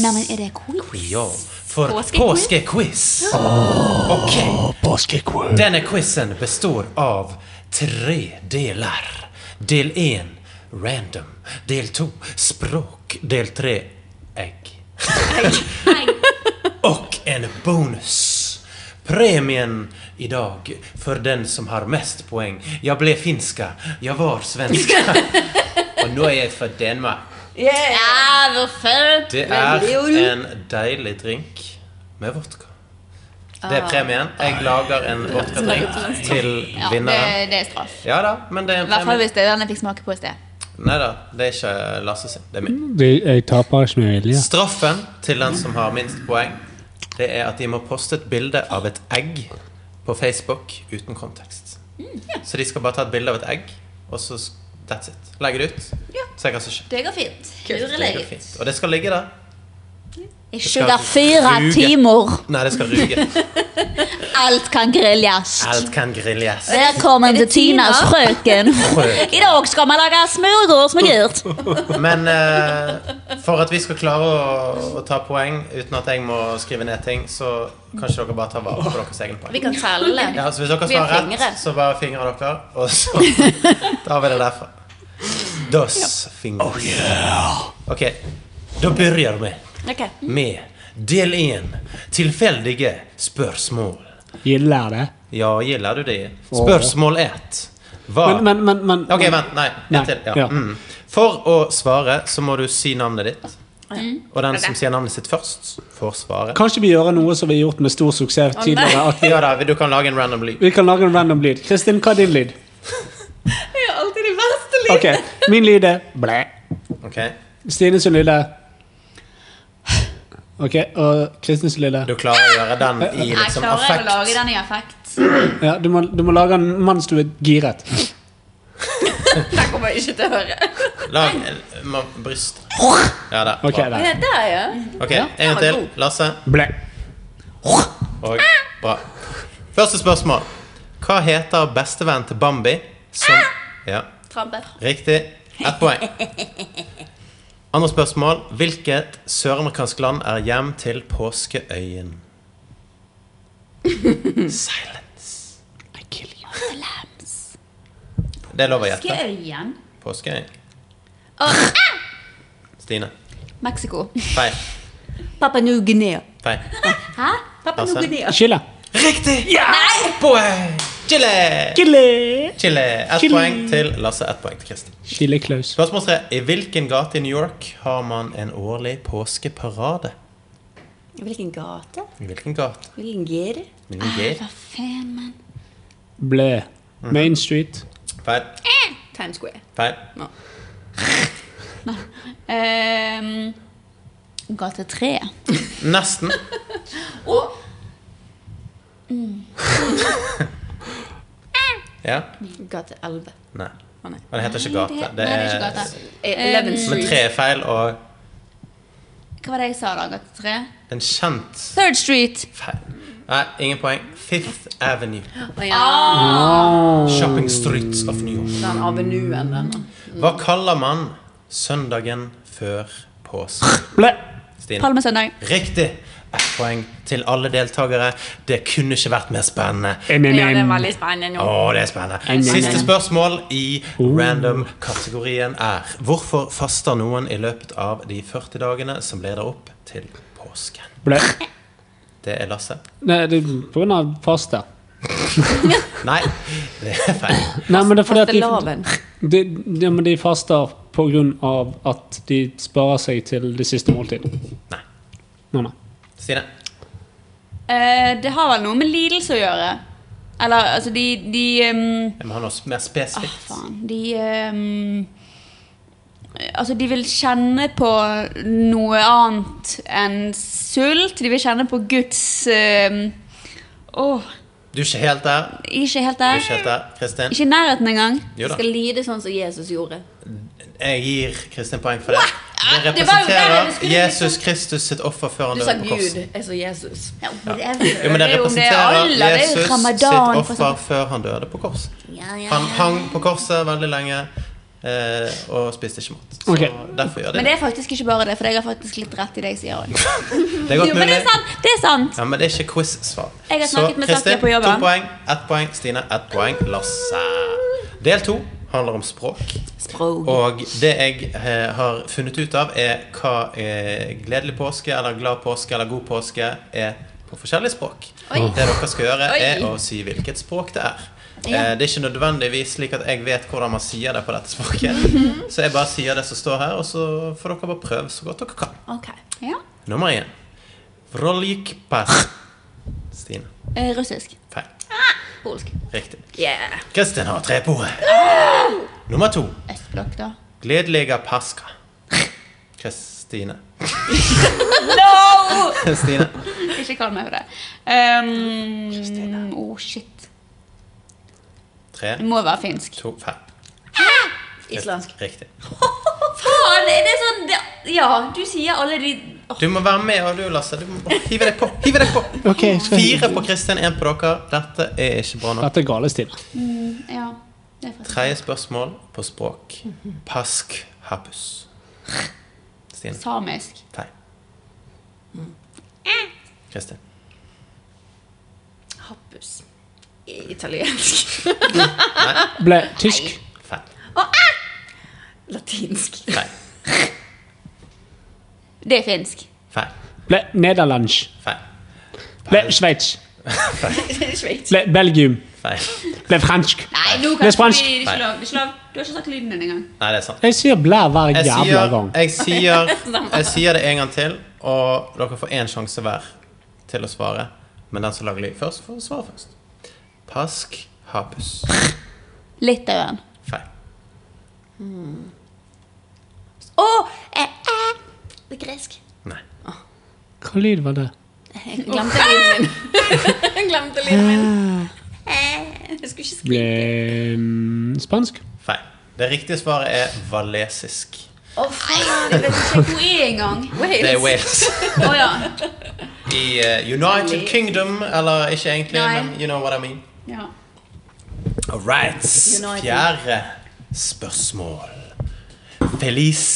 Neimen, er det quiz?
Ja, for
Påskequiz?
påskequiz. Ok, denne quizen består av tre deler. Del én random. Del to språk. Del tre egg. *laughs* Og en bonus. Premien i dag for den som har mest poeng. Jeg ble finska, jeg var svenska. Og nå er jeg fra Danmark.
Ja, hvor fint!
Det er en deilig drink med vodka. Det
Ah.
er premien. Jeg lager en vodkadrink til
Ja, det,
vinneren.
det er straff.
Ja da, men det er
I
en
hvert fall
premie.
hvis det er den jeg fikk smake på i sted.
Nei da, det er ikke Lasse sin. Det er min.
Jeg taper ikke med vilje.
Straffen til den som har minst poeng, det er at de må poste et bilde av et egg på Facebook uten kontekst.
Mm.
Så de skal bare ta et bilde av et egg, og så s- that's it. Legge det ut. Se hva som skjer.
Det går fint.
Det går
Lureleget.
fint. Og det skal ligge der
Ikke det fire
ruge.
timer.
Nei, det skal ruge.
*laughs* Alt kan grilles.
Alt kan grilles.
Velkommen til Tinas
*laughs*
frøken. I dag skal vi lage smørgås med gyrt.
Men eh, for at vi skal klare å, å ta poeng uten at jeg må skrive ned ting, så kanskje dere bare tar vare på deres egen poeng.
Vi kan telle.
Ja, altså. så hvis dere
Vi har
svarer
fingre.
rett, så bare fingrer dere, og så
*laughs*
tar vi det derfra. Dos fingers.
Oh,
Ok, da begynner vi
Ok.
med del én. Tilfeldige spørsmål.
Gilder det.
Ja, gillar du det? Spørsmål ett. Hva
Men, men, men, men
Ok, vent. Nei,
Nei,
en til. Ja.
ja.
Mm. For å svare så må du si navnet ditt.
Mm.
Og den som sier navnet sitt først, får svaret.
Kan ikke vi gjøre noe som vi har gjort med stor suksess
Å, nei.
tidligere? At
Ja da, du kan lage en random lyd.
vi kan lage en random lyd. Kristin, hva er din lyd?
Det er jo alltid de verste lydene.
Ok, Min lyd er blæ. Stine sin lyd er Ok, og Kristin sin lyd er
Du klarer å gjøre den i
Jeg
liksom
klarer jeg å
affekt.
lage den i affekt.
Ja, du må, du må lage den mens du er giret.
Den kommer jeg ikke til å høre.
Lag eh, ma- bryst. Ja da.
Ok,
Bra.
da.
Ja, der, ja.
Ok, en gang til. Lasse.
Blæ.
Og bra. Første spørsmål. Hva heter bestevennen til Bambi som
Ah!
Ja,
Trampe.
riktig. Ett poeng. Andre spørsmål. Hvilket søramerikansk land er hjem til påskeøyen? Silence.
I kill you.
Det er lov å gjette.
Skøyen.
Påskeøyen.
Åh,
Stine.
Mexico.
Feil.
Papua New-Guinea.
Feil.
Hæ? Papua
Lasse.
New-Guinea.
Chile.
Riktig! Poeng! Chile!
Chile!
Chile. Ett
Chile.
poeng til Lasse, ett poeng til Kristin.
Chile Klaus.
Spørsmål tre. I hvilken gate i New York har man en årlig påskeparade?
Hvilken gate?
I hvilken gate?
Hvilken gir?
Hvilken gate?
Ah, Hva faen, mann?
Blæ. Main Street.
Feil.
Times Square.
Feil.
Ehm, gate tre.
Nesten.
Og
Ja.
gate 11.
Nei. Og det heter ikke gate. Mm.
Nei, det er ikke gate.
Eh, Eleven
Ehm,
Men tre er feil, og
Hva var det jeg sa da? Gate tre?
en kjent
Third Street.
feil. Nei, ingen poeng. Fifth Avenue.
Å ja.
Shopping streets of New York.
Den avenuen, den.
Hva kaller man søndagen før påske?
Blæ.
Stine.
Palmesøndag.
Riktig. Ett poeng til alle deltakere. Det kunne ikke vært mer spennende.
ja, det er veldig spennende
Å,
nå.
det er spennende.
Nei, nei, Oh.
Siste
nei.
spørsmål i random-kategorien er Hvorfor faster noen i løpet av de 40 dagene som leder opp til påsken?
Blæ.
Det er Lasse.
Nei, det er på grunn av pasta.
Nei, det er feil.
Nei, men det er fordi at de,
Fastelavn.
de, ja, men de faster på grunn av at de sparer seg til det siste måltid.
Nei.
Nei, nei.
Stine.
Eh, det har vel noe med lidelse å gjøre. Eller altså, de, de ehm,
Jeg må ha noe mer spesifikt.
Faen. De ehm, Altså, de vil kjenne på noe annet enn sult. De vil kjenne på Guds ehm, Åh,
Du er ikke helt der.
ikke helt
Du er
der.
ikke helt der, Kristin.
Ikke i nærheten engang.
Jo da.
Skal lide sånn som Jesus gjorde.
Jeg gir Kristin poeng for det. Det
Ah, det var jo der
representerer
jeg skulle
Jesus Kristus sitt offer før han døde på korset.
Jeg så Jesus. Ja,
Jo, men det
Det er jo- det er
representerer
alle, det er jo
Jesus sitt
Ramadan, for
offer før han døde på korset.
ja, ja.
Han hang på korset veldig lenge eh, og spiste ikke mat. Så
Ok.
derfor gjør
Men
de
det
det.
er faktisk ikke bare det, for jeg har faktisk litt rett i det jeg sier. også.
Det er godt
Jo, men
mulig.
det er sant! Det er sant.
Ja, men det er ikke quiz-svar.
Jeg har
Så
snakket med Sakia
Kristin,
på jobben.
to poeng. Ett poeng. Stine, ett poeng. Lasse. Del to handler om språk. Og det jeg eh, har funnet ut av, er hva eh, gledelig påske eller glad påske eller god påske er på forskjellige språk.
Oi.
Det dere skal gjøre, er
Oi.
å si hvilket språk det er.
Ja.
Eh, Det er ikke nødvendigvis slik at jeg vet hvordan man sier det på dette
Mhm.
språket. Så jeg bare sier det som står her, og så får dere bare prøve så godt dere kan.
Ok. Ja.
Nummer én. Vrolikpas. Stine.
Eh, russisk.
Feil.
Ah,
Polsk.
Riktig.
Yeah.
Kristin har tre på.
Ah!
Nummer to.
Østblokk, da.
Gledeliga paska. Kristine.
No!
Stine.
Ikke kall meg for det. Um, oh, shit.
Tre,
Det må være finsk.
to, fem.
Islandsk.
Riktig.
Faen, er det sånn det, Ja, du sier alle de
Du må være med, og du, Lasse. Du må hive deg på. Hive deg på.
Ok, skal jeg-
Fire på Kristin, én på dere. Dette er ikke bra nok.
Dette er galestil.
Mm, ja. Det er faktisk
Tredje spørsmål på språk. Pask habus. Stine.
samisk.
Tei. Kristin.
Happus. Italiensk.
Ble tysk.
Og æ! Latinsk.
Feil.
Det er finsk.
Ble nederlandsk.
Feil.
Ble sveits.
Sveits.
Ble Belgium.
Feil.
Ble fransk.
Nei, nå
Ble
kan ikke
spansk.
vi ikke lov. Ikke lov. Du har ikke sagt lyden din engang.
Nei, det er sant.
Jeg sier blæ hver
Jeg
jævla
sier,
gang.
jeg, sier,
*laughs*
jeg sier det en gang til, og dere får én sjanse hver til å svare. Men den som lager lyd først, får svare først. Pask habus.
Litauen.
Feil.
Å! eh, æ. Det er gresk.
Hva lyd var det?
Jeg glemte lyden min. Jeg glemte lyden min. Eh, Jeg skulle ikke skrive
Ble mm, spansk.
Feil. Det riktige svaret er valesisk.
Å, faen! Jeg vet ikke hvor jeg er engang.
Det er Wales.
Å ja.
I eh, United Kingdom, eller ikke egentlig,
Nei.
men you know what I mean.
ja.
All right.
United.
Fjerde spørsmål. Feliz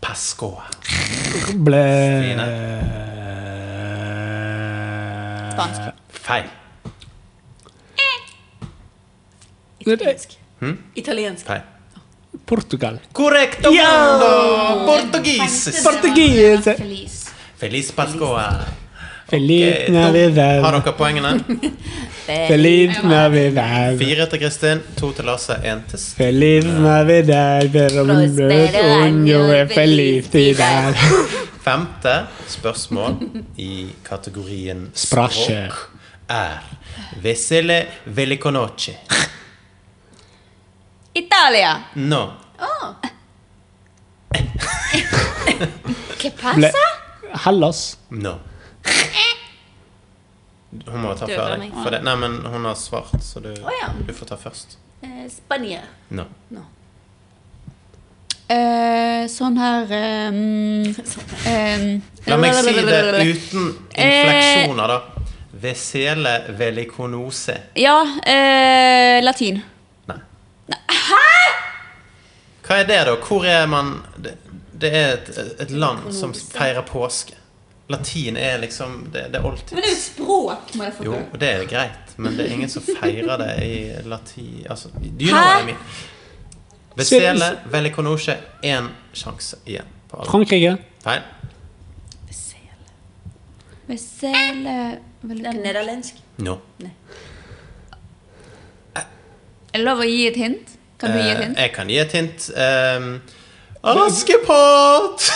Pascoa.
Ble
Spansk. Feil.
Italiensk.
Hm?
Italiensk.
Feil.
Portugal.
Korrekt!
Ja!
Portugisisk.
Portugis.
Feliz Pascoa.
Feliz
Ok, da
Navidad.
Har dere poengene?
Feliz Navidad.
Fire til Kristin, to til Lasse, én til Sten.
Feliz Navidad. Prospero año e felicidad.
Femte spørsmål i kategorien
Sprasje.
språk er Vesele velikonoce.
Italia.
No.
Oh. Hva
Ble
passa?
Hellas.
No. Hun må ta
Du tar
før deg.
meg.
For det. Nei, men hun har svart, så du,
Å, ja.
du får ta først.
Eh, Spania.
No.
Eh, sånn her ehm, ehm,
La meg si det uten
Eh,
infleksjoner, da. Vesele velikonose.
Ja, eh, latin.
Hva er det, da? Hvor er man Det, det er et, et land som feirer påske. Latin er liksom Det, det er alltid
Men det er jo språk, må jeg
Jo,
forstå.
og det er greit, men det er ingen som feirer det i latin Altså, you know
Hæ?
what I mean. Vesele velikonose. Én sjanse igjen. på alle.
Frankrike.
Feil.
Vesele Det
er nederlandsk.
No.
Er det lov å gi et hint? Kan du gi et
Eh,
hint?
jeg kan gi et hint. Um,
*laughs*
Askepott!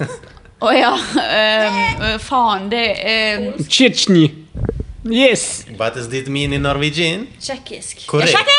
eh.
Å ja. ehm, eh, faen, det eh, er
Tsjetsjni. Yes!
What does it mean in Norwegian?
Tsjekkisk.
Korrekt.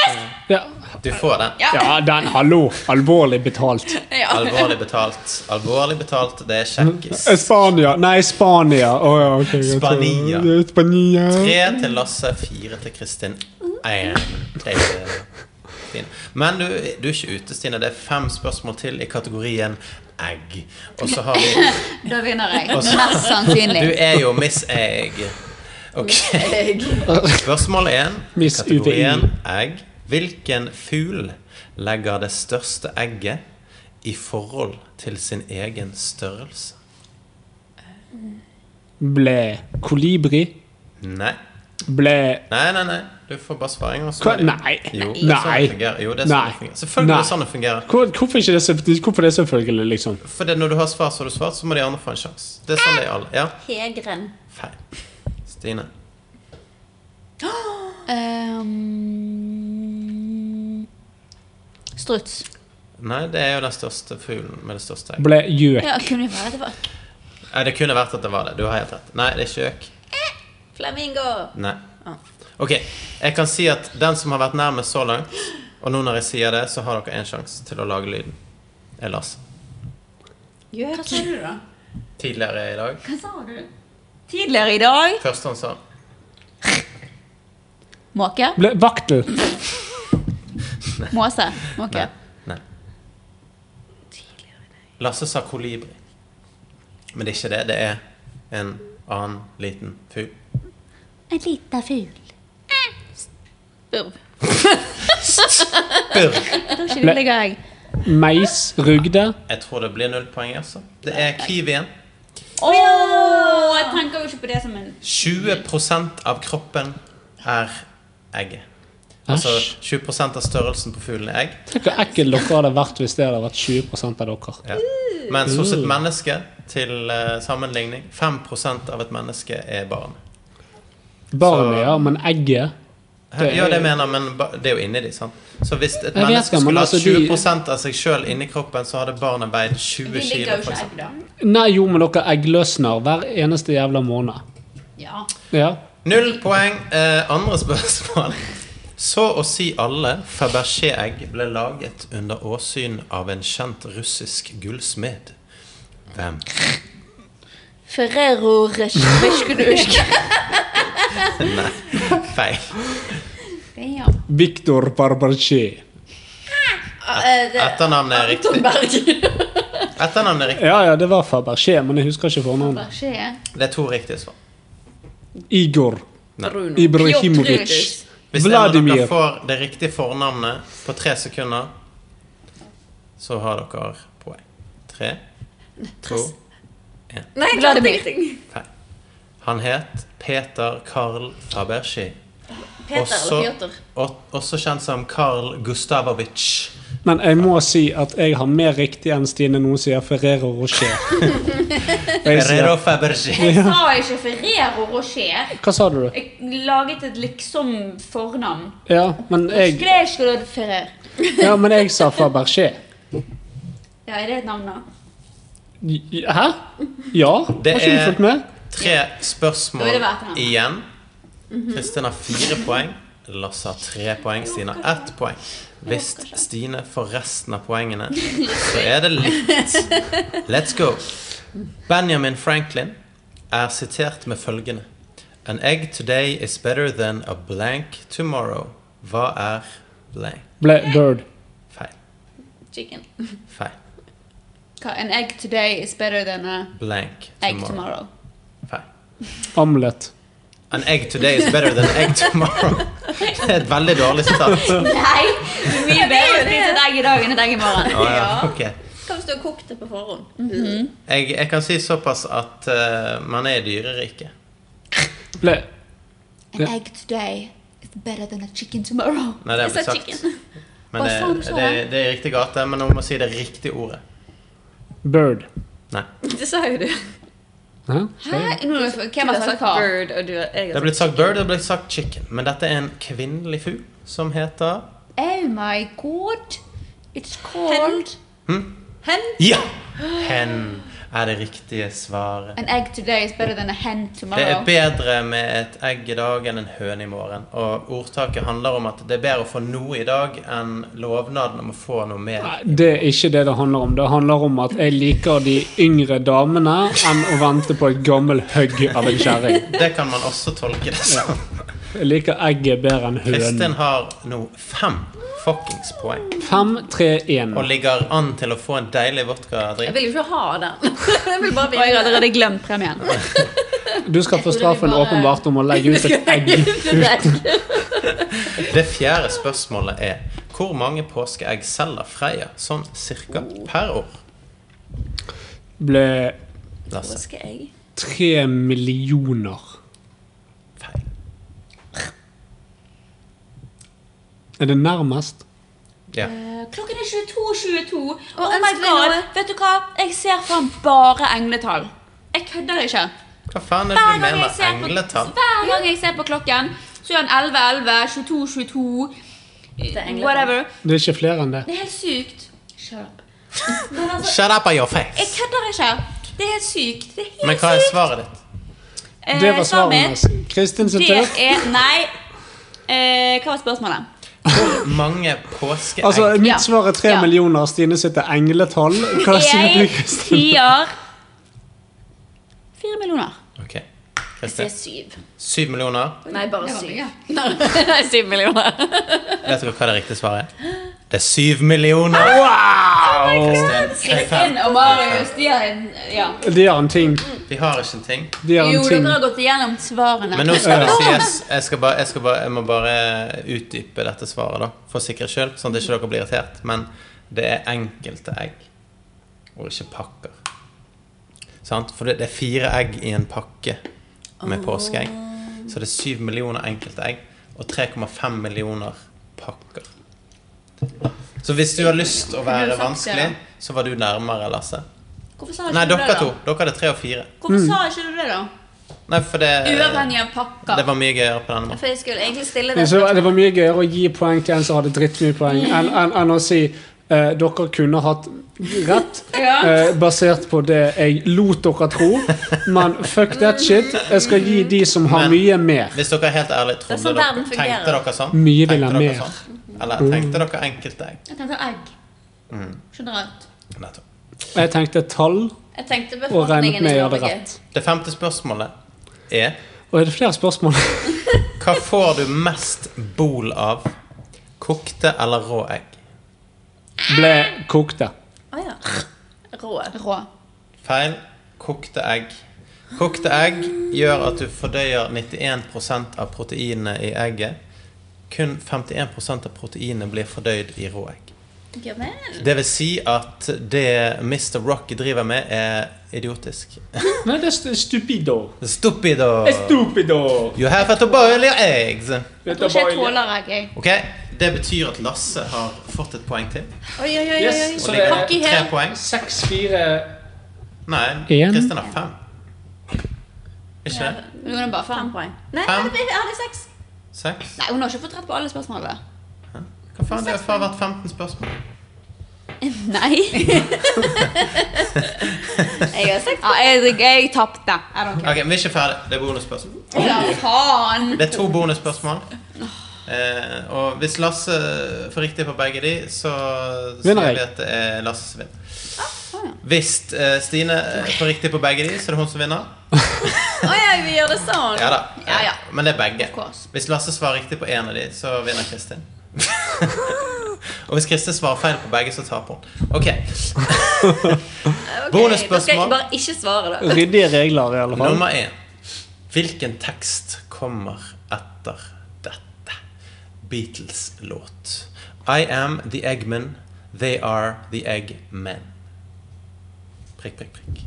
Ja.
Du får den.
Ja, den, hallo. Alvorlig betalt.
Alvorlig betalt. Alvorlig betalt, det er kjekkis.
Spania. Nei, Spania. Å, ja, ok, jeg tror-
Spania.
Spania.
Tre til Lasse, fire til Kristin. Én til Stine. Men du, du er ikke ute, Stine. Det er fem spørsmål til i kategorien egg. Og så har vi
Da vinner jeg.
og så-
Mest sannsynlig.
Du er jo Miss Egg. Ok. Spørsmål én,
Miss
kategorien egg. Hvilken fugl legger det største egget i forhold til sin egen størrelse?
Ble kolibri.
Nei.
Ble
Nei, nei, nei. Du får bare svare en gang. så
Hva?
er det-
Nei.
Jo, det er sånn
Nei.
det fungerer. Jo, det er sånn
Nei.
det fungerer. Selvfølgelig er det
Nei.
sånn det fungerer.
Hvor, hvorfor ikke det, selv- hvorfor det selvfølgelig, liksom?
For det, når du har svar, så har du svart, så må de andre få en sjanse. Det er sånn det er i alle. Ja.
Hegren.
Feil. Stine.
Ehm, struts.
Nei, det er jo den største fuglen med det største egget.
Ble gjøk.
Ja, kunne jo være det var
Nei, det kunne vært at det var det. Du har helt rett. Nei, det er ikke øk.
Flamingo.
Nei. Ok, jeg kan si at den som har vært nærmest så langt, og nå når jeg sier det, så har dere en sjanse til å lage lyden. Er Lars.
Hva sa du, da?
Tidligere i dag.
Hva sa du? Tidligere i dag
Første han sa.
Måke?
Ble vaktel.
Måse? Måke?
Lasse sa kolibri. Men det er ikke det. Det er en annen liten fugl.
En liten fugl.
Spurv.
Burr.
Da skylder jeg.
Meis, rugde.
Jeg tror det blir null poeng, altså. Det er kiwien.
Åh, jeg tenker jo ikke på det som en
20 av kroppen er egget. Altså 20 av størrelsen på fuglen er egg.
Tenk hvor ekkel dere hadde vært hvis det hadde vært 20 av dere.
Ja. Mens hos et menneske, til eh, sammenligning, 5 av et menneske er barn.
Barnet, ja, men egget det
ja,
er-
det mener jeg, men ba- det er jo inni de, sant. Så hvis et
Jeg vet
menneske
Eh, det, men
skulle
altså,
hatt
de-
20 av seg sjøl inni kroppen, så hadde barnet veid 20
De ligger
kilo,
jo
for
ikke
eksempel.
egg, da.
Nei, jo, men dere eggløsner hver eneste jævla måned.
Ja.
Ja.
Null poeng. Eh, andre spørsmål. *laughs* Så å si alle Fabergé-egg ble laget under åsyn av en kjent russisk gullsmed. Hvem?
Ferrero *laughs* Resjkudusk.
Nei, feil.
Victor Barbarché.
Etternavnet er riktig. Etternavnet er riktig.
Ja, ja, det var Fabergé, men jeg husker ikke fornavnet.
Det er to riktige svar.
Igor.
Bruno.
Ibrahimovic.
Piotr. Hvis en av dere
Vladimir.
får det riktige fornavnet på tre sekunder, så har dere poeng. Tre, to
Nei, jeg klarte ingenting.
Han het Peter Karl Fabergi.
Peter eller
også,
Piotr?
og, også kjent som Karl Gustavovic.
Men jeg må si at jeg har mer riktig enn Stine noen sier Ferrero Rocher. Jeg sier-
Ferrero Fabergi.
Jeg
Ja.
sa ikke Ferrero Rocher.
Hva sa du?
Jeg laget et liksom fornavn.
Ja, men jeg,
Skrev ikke du Ferrer?
ja, men jeg sa Fabergé.
Ja, er det et navn, da?
Hæ? Ja? Har
Det
ikke du
er
fulgt med?
tre spørsmål
Da vil det være et annet. Mhm.
igjen. Kristin har fire poeng. Lasse har tre poeng. Stine har ett poeng. Hvis Stine får resten av poengene,
*laughs*
så er det likt. Let's go. Benjamin Franklin er sitert med følgende An egg today is better than a blank tomorrow. Hva er blank?
Ble Bird.
Feil.
Chicken.
Feil.
Hva, An egg today is better than a
Blank
egg
tomorrow.
tomorrow.
Omelett.
An egg today is better than an egg
*laughs*
tomorrow. Det er et veldig dårlig sitat.
*laughs* Nei! Det er mye bedre å spise et egg i dag enn et egg i
*laughs*
morgen.
Å, Ah, ja. ok.
Hva hvis du har kokt det på forhånd? Mm-hmm.
jeg, jeg kan si såpass at eh, man er i dyreriket.
Ble
An egg today is better than a chicken tomorrow.
Nei, det har blitt sagt. Men
Hva
det,
sa du så,
det,
da?
det er i riktig gate, men hun må si det riktige ordet.
Bird.
Nei.
Det sa jo du.
Hæ?
Hæ? Nå, hvem har
Du
sagt hva?
bird, og du har jeg
Det
har
har blitt sagt bird, det har blitt sagt chicken. Men dette er en kvinnelig fugl som heter
Oh my god. It's called Hen?
Ja! Hen er det riktige svaret.
An egg today is better than a hen
Det er
tomorrow.
bedre med et egg i dag enn en høne i morgen. Og ordtaket handler om at det er bedre å få noe i dag enn lovnaden om å få noe mer.
Det er ikke det det handler om. Det handler om at jeg liker de yngre damene enn å vente på et gammel hugg av en kjerring.
Det kan man også tolke det som.
Jeg liker egget bedre enn hønen.
Kristin har nå fem fuckings poeng.
Fem, tre, én.
Og ligger an til å få en deilig
Jeg
vodkadrikk.
vil jo ikke ha den. Jeg vil bare
Og *laughs* jeg har allerede glemt *laughs* premien.
Du skal få
Jeg trodde vi
straffen
bare-
åpenbart om å legge
*laughs*
ut et egg.
Det fjerde spørsmålet er hvor mange påskeegg selger Freia sånn cirka per år?
Ble
Lasse.
tre millioner. Er det nærmest?
Ja.
Eh, Klokken er 22.22.
Og
oh my
ønsker deg
god.
noe?
Vet du hva? Jeg ser faen bare engletall. Jeg kødder ikke.
Hva faen er det
Hver
du
gang, jeg altså,
mener
ser på,
engletall?
hver gang jeg ser på klokken, så er den 11.11, 22.22,
engletall.
whatever.
Det er ikke flere enn det.
Det er helt sykt. Shut up. Men altså,
Shut up on your face.
jeg kødder ikke. Det er helt sykt. Det er helt
Men hva er
sykt.
svaret ditt?
Eh,
Det var svaret
mitt,
hennes. Kristin sin
Det
tur.
er Nei. Eh, hva var spørsmålet?
Hvor mange påskeegg
Altså,
Ja.
mitt svar er tre
Ja.
millioner. Stine sitter engletall. Hva sier du,
Jeg
Kristin?
*laughs* sier fire millioner.
Ok, Kristin.
syv.
Syv millioner.
Nei, bare syv.
Nei, syv millioner.
Vet dere hva det riktige svaret er? Det er syv millioner!
Wow! Oh Kristin og Marius, de har en Ja.
De har en ting.
De har ikke en ting.
De har
Jo,
en ting.
dere har gått igjennom svarene.
Men nå skal det sies jeg, skal bare, jeg, skal bare, jeg må bare utdype dette svaret, da. For sikkerhets skyld, sånn at ikke dere blir irritert. Men det er enkelte egg, og ikke pakker. Sant? For det, det er fire egg i en pakke med påskeegg. Så det er syv millioner enkeltegg og 3,5 millioner pakker. Så hvis du har lyst å
Kunne
være
du sagt det,
vanskelig, så var du nærmere, Lasse.
Hvorfor sa ikke
Nei,
du det,
dere
da?
to. Dere hadde tre og fire.
Hvorfor sa ikke du det, da?
Nei, for det
Uavhengig av pakker.
Det var mye gøyere på denne måten.
For jeg skulle egentlig stille
Men
det.
så var- det var mye gøyere å gi poeng til en som hadde drittmye poeng,
Mm.
enn enn- enn å si eh, dere kunne hatt rett,
*laughs* Ja.
eh, basert på det jeg lot dere tro. Men fuck that shit. Jeg skal gi de som har mye, mer.
Hvis dere er helt ærlige,
Det er
trodde
sånn
dere,
verden fungerer.
tenkte dere sånn?
Mye vil ha
Tenkte dere
mer. Mm.
sånn? Eller tenkte dere enkelte egg?
Jeg tenkte egg.
Mm.
Generelt.
Nettopp.
Jeg tenkte tall.
Jeg tenkte
Og regnet
befolkningen
med
i
jeg hadde
Norge.
rett.
Det femte spørsmålet er
Og er det flere spørsmål?
*laughs*
Hva får du mest bol av? Kokte eller rå egg?
Ble kokte.
Å ja. Rå. Rå.
Feil. Kokte egg. Kokte egg gjør at du fordøyer 91 av proteinene i egget. Kun 51 av proteinene blir fordøyd i rå egg.
Ja vel.
Det vil si at det Mr. Rocky driver med, er idiotisk.
Nei, det er stu- stupido.
Stupido!
Stupido!
You have to boil your eggs.
Jeg tror ikke jeg tåler egg, jeg.
Ok, Det betyr at Lasse har fått et poeng til.
Oi, oi, oi. oi.
Yes, så
Og
det
ligger
er
på tre poeng.
seks, fire
Nei,
En.
Kristin har fem. Ikke det?
Hun har bare fem poeng. Nei,
Fem?
jeg hadde seks.
Seks?
Nei, hun har ikke fått rett på alle *laughs* spørsmålene.
Hva faen, det har vært 15 spørsmål.
Nei. *laughs* jeg har seks. Ja, jeg, jeg tapte. I don't
Ok, Vi er ikke ferdig. Det er bonusspørsmål.
care. Ja, faen.
Det er to bonusspørsmål. Eh, og hvis Lasse får riktig på begge de, så
Vinner
sier
jeg.
vi at det er Lasse som vinner. Hvis eh, Stine eh, får riktig på begge de, så er det hun som vinner.
Å ja, vi gjør det sånn.
Ja da.
Ja, ja.
Men det er begge.
Of course.
Hvis Lasse svarer riktig på én av de, så vinner Kristin. *laughs* og hvis Kristin svarer feil på begge, så taper hun. Ok.
*laughs* Ok, Da skal jeg
Bonusspørsmål
bare ikke svare, da.
Ryddige regler, i alle fall.
nummer én. Hvilken tekst kommer etter dette? Beatles-låt. I am the eggman. They are the eggmen. Prikk, prikk, prikk.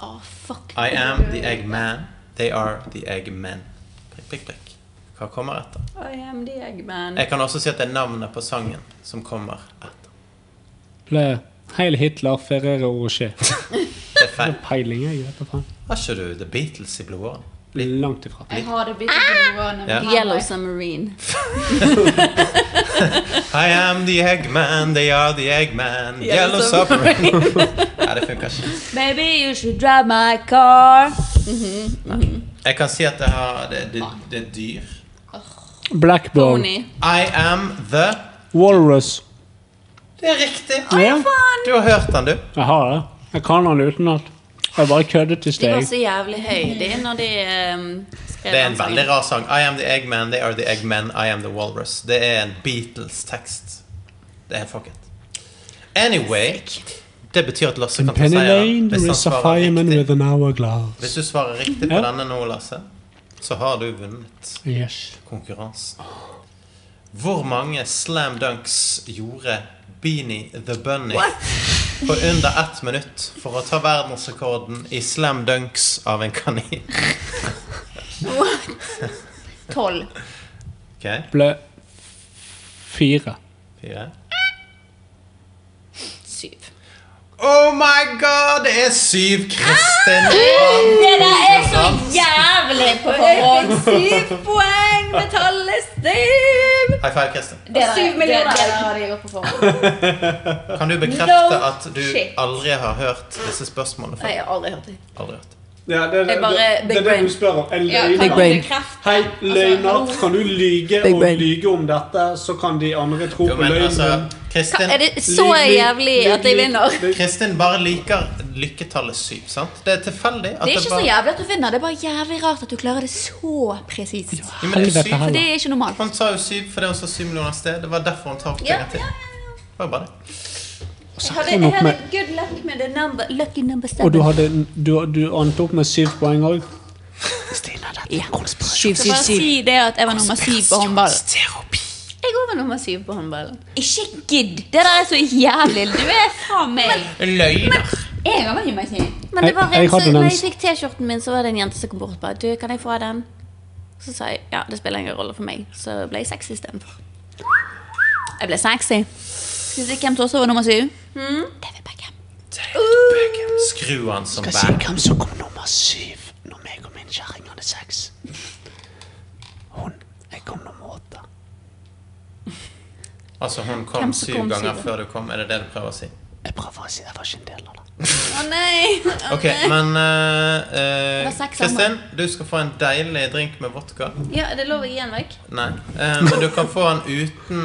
Å, fuck.
I am the eggman. They are the eggmen. Prikk, prikk, prikk. Hva kommer etter?
I am the Eggman.
Jeg kan også si at det er navnet på sangen som kommer.
Ble Heil Hitler, Ferrero Rocher.
Det er feil.
Peiling, jeg vet da faen.
Har ikke du The Beatles i blodåren?
Langt ifra.
Jeg har det bitte på
Ja.
Yellow Submarine.
I am the eggman, they are the eggman, yellow
Yellow
submarine. *laughs* Nei, det funker ikke.
Baby, you should drive my car.
Jeg kan si at det, har, det, det, det er dyr.
Blackbone.
I am the
Walrus.
Det er riktig.
Ja.
Du har hørt den, du.
Jeg har det. Jeg kan han utenat. Jeg bare køddet i
De var
steg.
så jævlig høye, de, når de
um,
ehm, skrev
Det er en
den sangen.
veldig rar sang. I am the eggman, they are the eggmen, I am the walrus. Det er en Beatles-tekst. Det er fuck it. Anyway, det betyr at Lasse kan ta
Penny
seieren.
Lane
Hvis,
there
han
is a
svarer
fireman
riktig.
with an hourglass.
hvis du svarer riktig på
Ja.
denne nå, Lasse, så har du vunnet.
Yes.
konkurransen. Hvor mange slam dunks gjorde Beanie the Bunny på under ett minutt for å ta verdensrekorden i slam dunks av en kanin?
Tolv.
Ok,
Ble fire.
fire.
Syv.
Oh my god, det er syv, Kristin!
Ah! Det der er så *laughs* jævlig på forhånd.
Syv poeng med tallet stiv!
High five, Kristin.
Det der-
Syv millioner.
Det, det der har de gjort på forhånd.
Kan du bekrefte
No
at du
shit.
aldri har hørt disse spørsmålene
Nei,
før?
jeg har aldri hørt det.
Aldri hørt.
Ja, det,
Jeg bare- det- Big det er det brain. du
spør om. En
Ja, kan løgner. du bekrefte?
Hei,
løgner. Altså, hallo.
Kan du lyge
Big og brain.
lyge om dette, så kan de andre tro
Jo, men altså, Kristin
Er det så
Lyg, lyg,
jævlig
lyg,
at jeg
lyg.
vinner?
Kristin bare liker lykketallet syv, sant? Det er tilfeldig at
Det er
det
ikke så
bare
jævlig at du vinner, det er bare jævlig rart at du klarer det så presist.
Jo, men det er syv.
For det er ikke normalt.
Han sa jo syv fordi han sa syv millioner sted. Det var derfor han tar opp
Ja,
penger til. Det var bare det.
Og så
Jeg hadde,
kom hun
jeg
opp
hadde
med
good luck med the number, lucky number seven.
Og du, hadde, du, du endte opp med syv poeng òg?
ja. Syv,
Bare si det at jeg var nummer syv på håndball.
Jeg òg var nummer syv på håndballen.
Ikke gidd! Det der er så jævlig. Du er faen meg
Løgner.
Jeg var nummer syv.
Men det var
Jeg- jeg
en som,
hadde
når
den
jeg
s-
fikk T-skjorten min, så var det en jente som kom bort og bare Du, kan jeg få den? Så sa jeg ja, det spiller ingen rolle for meg. Så ble jeg sexy istedenfor. Jeg ble sexy.
Skal vi se hvem som også var nummer syv?
Mm.
Skru han som
Skal si
bærer.
hvem som kom nummer syv når meg og min kjerring hadde sex. Hun Jeg kom nummer åtte.
Altså, hun kom
Hvem som
syv
kom
ganger
syv?
før du kom. Er det det du prøver å si?
Jeg prøver å si jeg var ikke en del av det.
Å nei! Å,
Ok,
nei.
men eh, eh,
Det var seks
Kristin,
sammen.
du skal få en deilig drink med vodka.
Ja, det lå jeg igjen vekk.
Nei. Eh, men du kan få den uten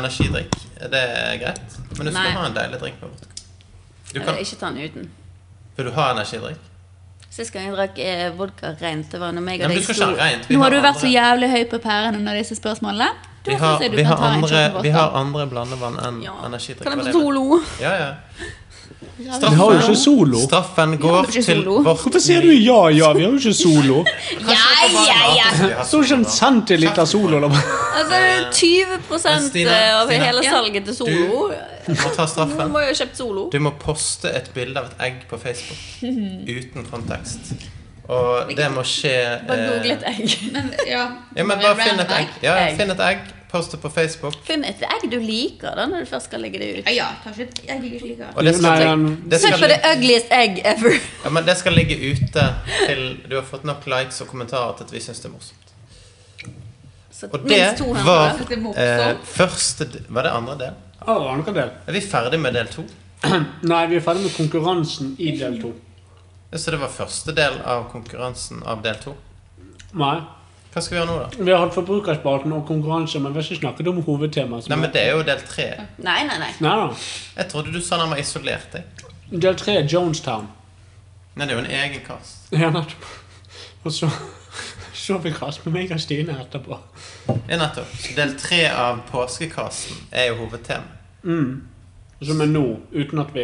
energidrikk. Det er greit. Men du skal
Nei.
ha en deilig drink med vodka. Du
Jeg
kan,
vil ikke ta den uten.
vil du ha energidrikk?
Sist gang jeg drakk eh, vodka rent, det var når meg
Nei,
og
men
deg
du skal ikke ha rent. Vi
Nå
har
har du vært så
andre.
jævlig høy på pæren under disse spørsmålene. Da
Vi
synes
har,
jeg du
vi
kan
har,
ta en shot
andre,
med
vi
vodka.
har andre blandevann enn energidrikk.
Kan jeg få
Hva er det?
solo?
Ja, ja.
Vi har jo ikke solo.
Straffen
har
går
ikke
til
solo.
vårt
Hvorfor sier du ja, ja? Vi har jo ikke solo.
Ja, ja, ja!
Så ikke en centiliter solo. eller hva?
Altså, det
Eh,
er 20
Stine,
eh, av
Stine.
hele
Ja.
salget til Solo.
Du må ta
Noen
straffen.
må jo ha kjøpt Solo.
Du må poste et bilde av et egg på Facebook uten kontekst. Og det må skje
Bare google
eh,
et egg. Men, ja.
Ja, men bare finn et egg. Ja, ja, finn et egg, post det på Facebook.
Finn et egg du liker, da, når du først skal legge det ut. Ja, kanskje et egg du ikke liker.
Og det skal, ligge- det skal,
Søk på the
ligge-
ugliest egg ever.
ja, men det skal ligge ute til du har fått nok likes og kommentarer til at vi syns det er morsomt. Og det
minst 200.
var
Det er morsomt.
eh, første d- Var det andre del?
Ja, det *clears throat* var noe del.
Er vi ferdig med del to?
Nei, vi er ferdig med konkurransen i del to.
Ja, Så det var første del av konkurransen av del to?
Nei.
Hva skal vi gjøre nå, da?
Vi har hatt forbrukerspalten og konkurranse, men vi har ikke snakket om hovedtemaet. som
Nei, men Det er jo del tre.
Nei, nei, nei.
Nei da.
Jeg trodde du sa den var isolert. Jeg.
Del tre er Jonestown.
Nei, det er jo en egen kast.
Ja, nettopp. *laughs* Og så så vi kast med meg og Stine etterpå.
Ja, nettopp. Så Del tre av påskekasten er jo hovedtema.
Mm. Som er nå, uten at vi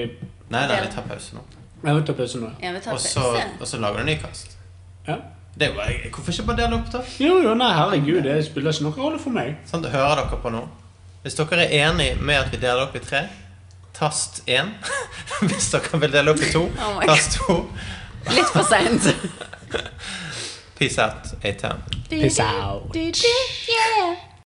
Nei, nei, vi tar pause nå.
Jeg vil ta pause nå.
Ja, vi tar
Og så,
pause.
og så lager du en ny kast.
Ja.
Det er jo bare, hvorfor ikke bare dele opp, da?
Jo, jo, nei, herregud, det spiller ikke noen rolle for meg.
Sånn, det hører dere på nå. Hvis dere er enig med at vi deler opp i tre, tast én. *laughs* Hvis dere vil dele opp i to,
Oh my God.
tast to.
Litt for seint.
Peace out, A-Town.
Peace out. Yeah.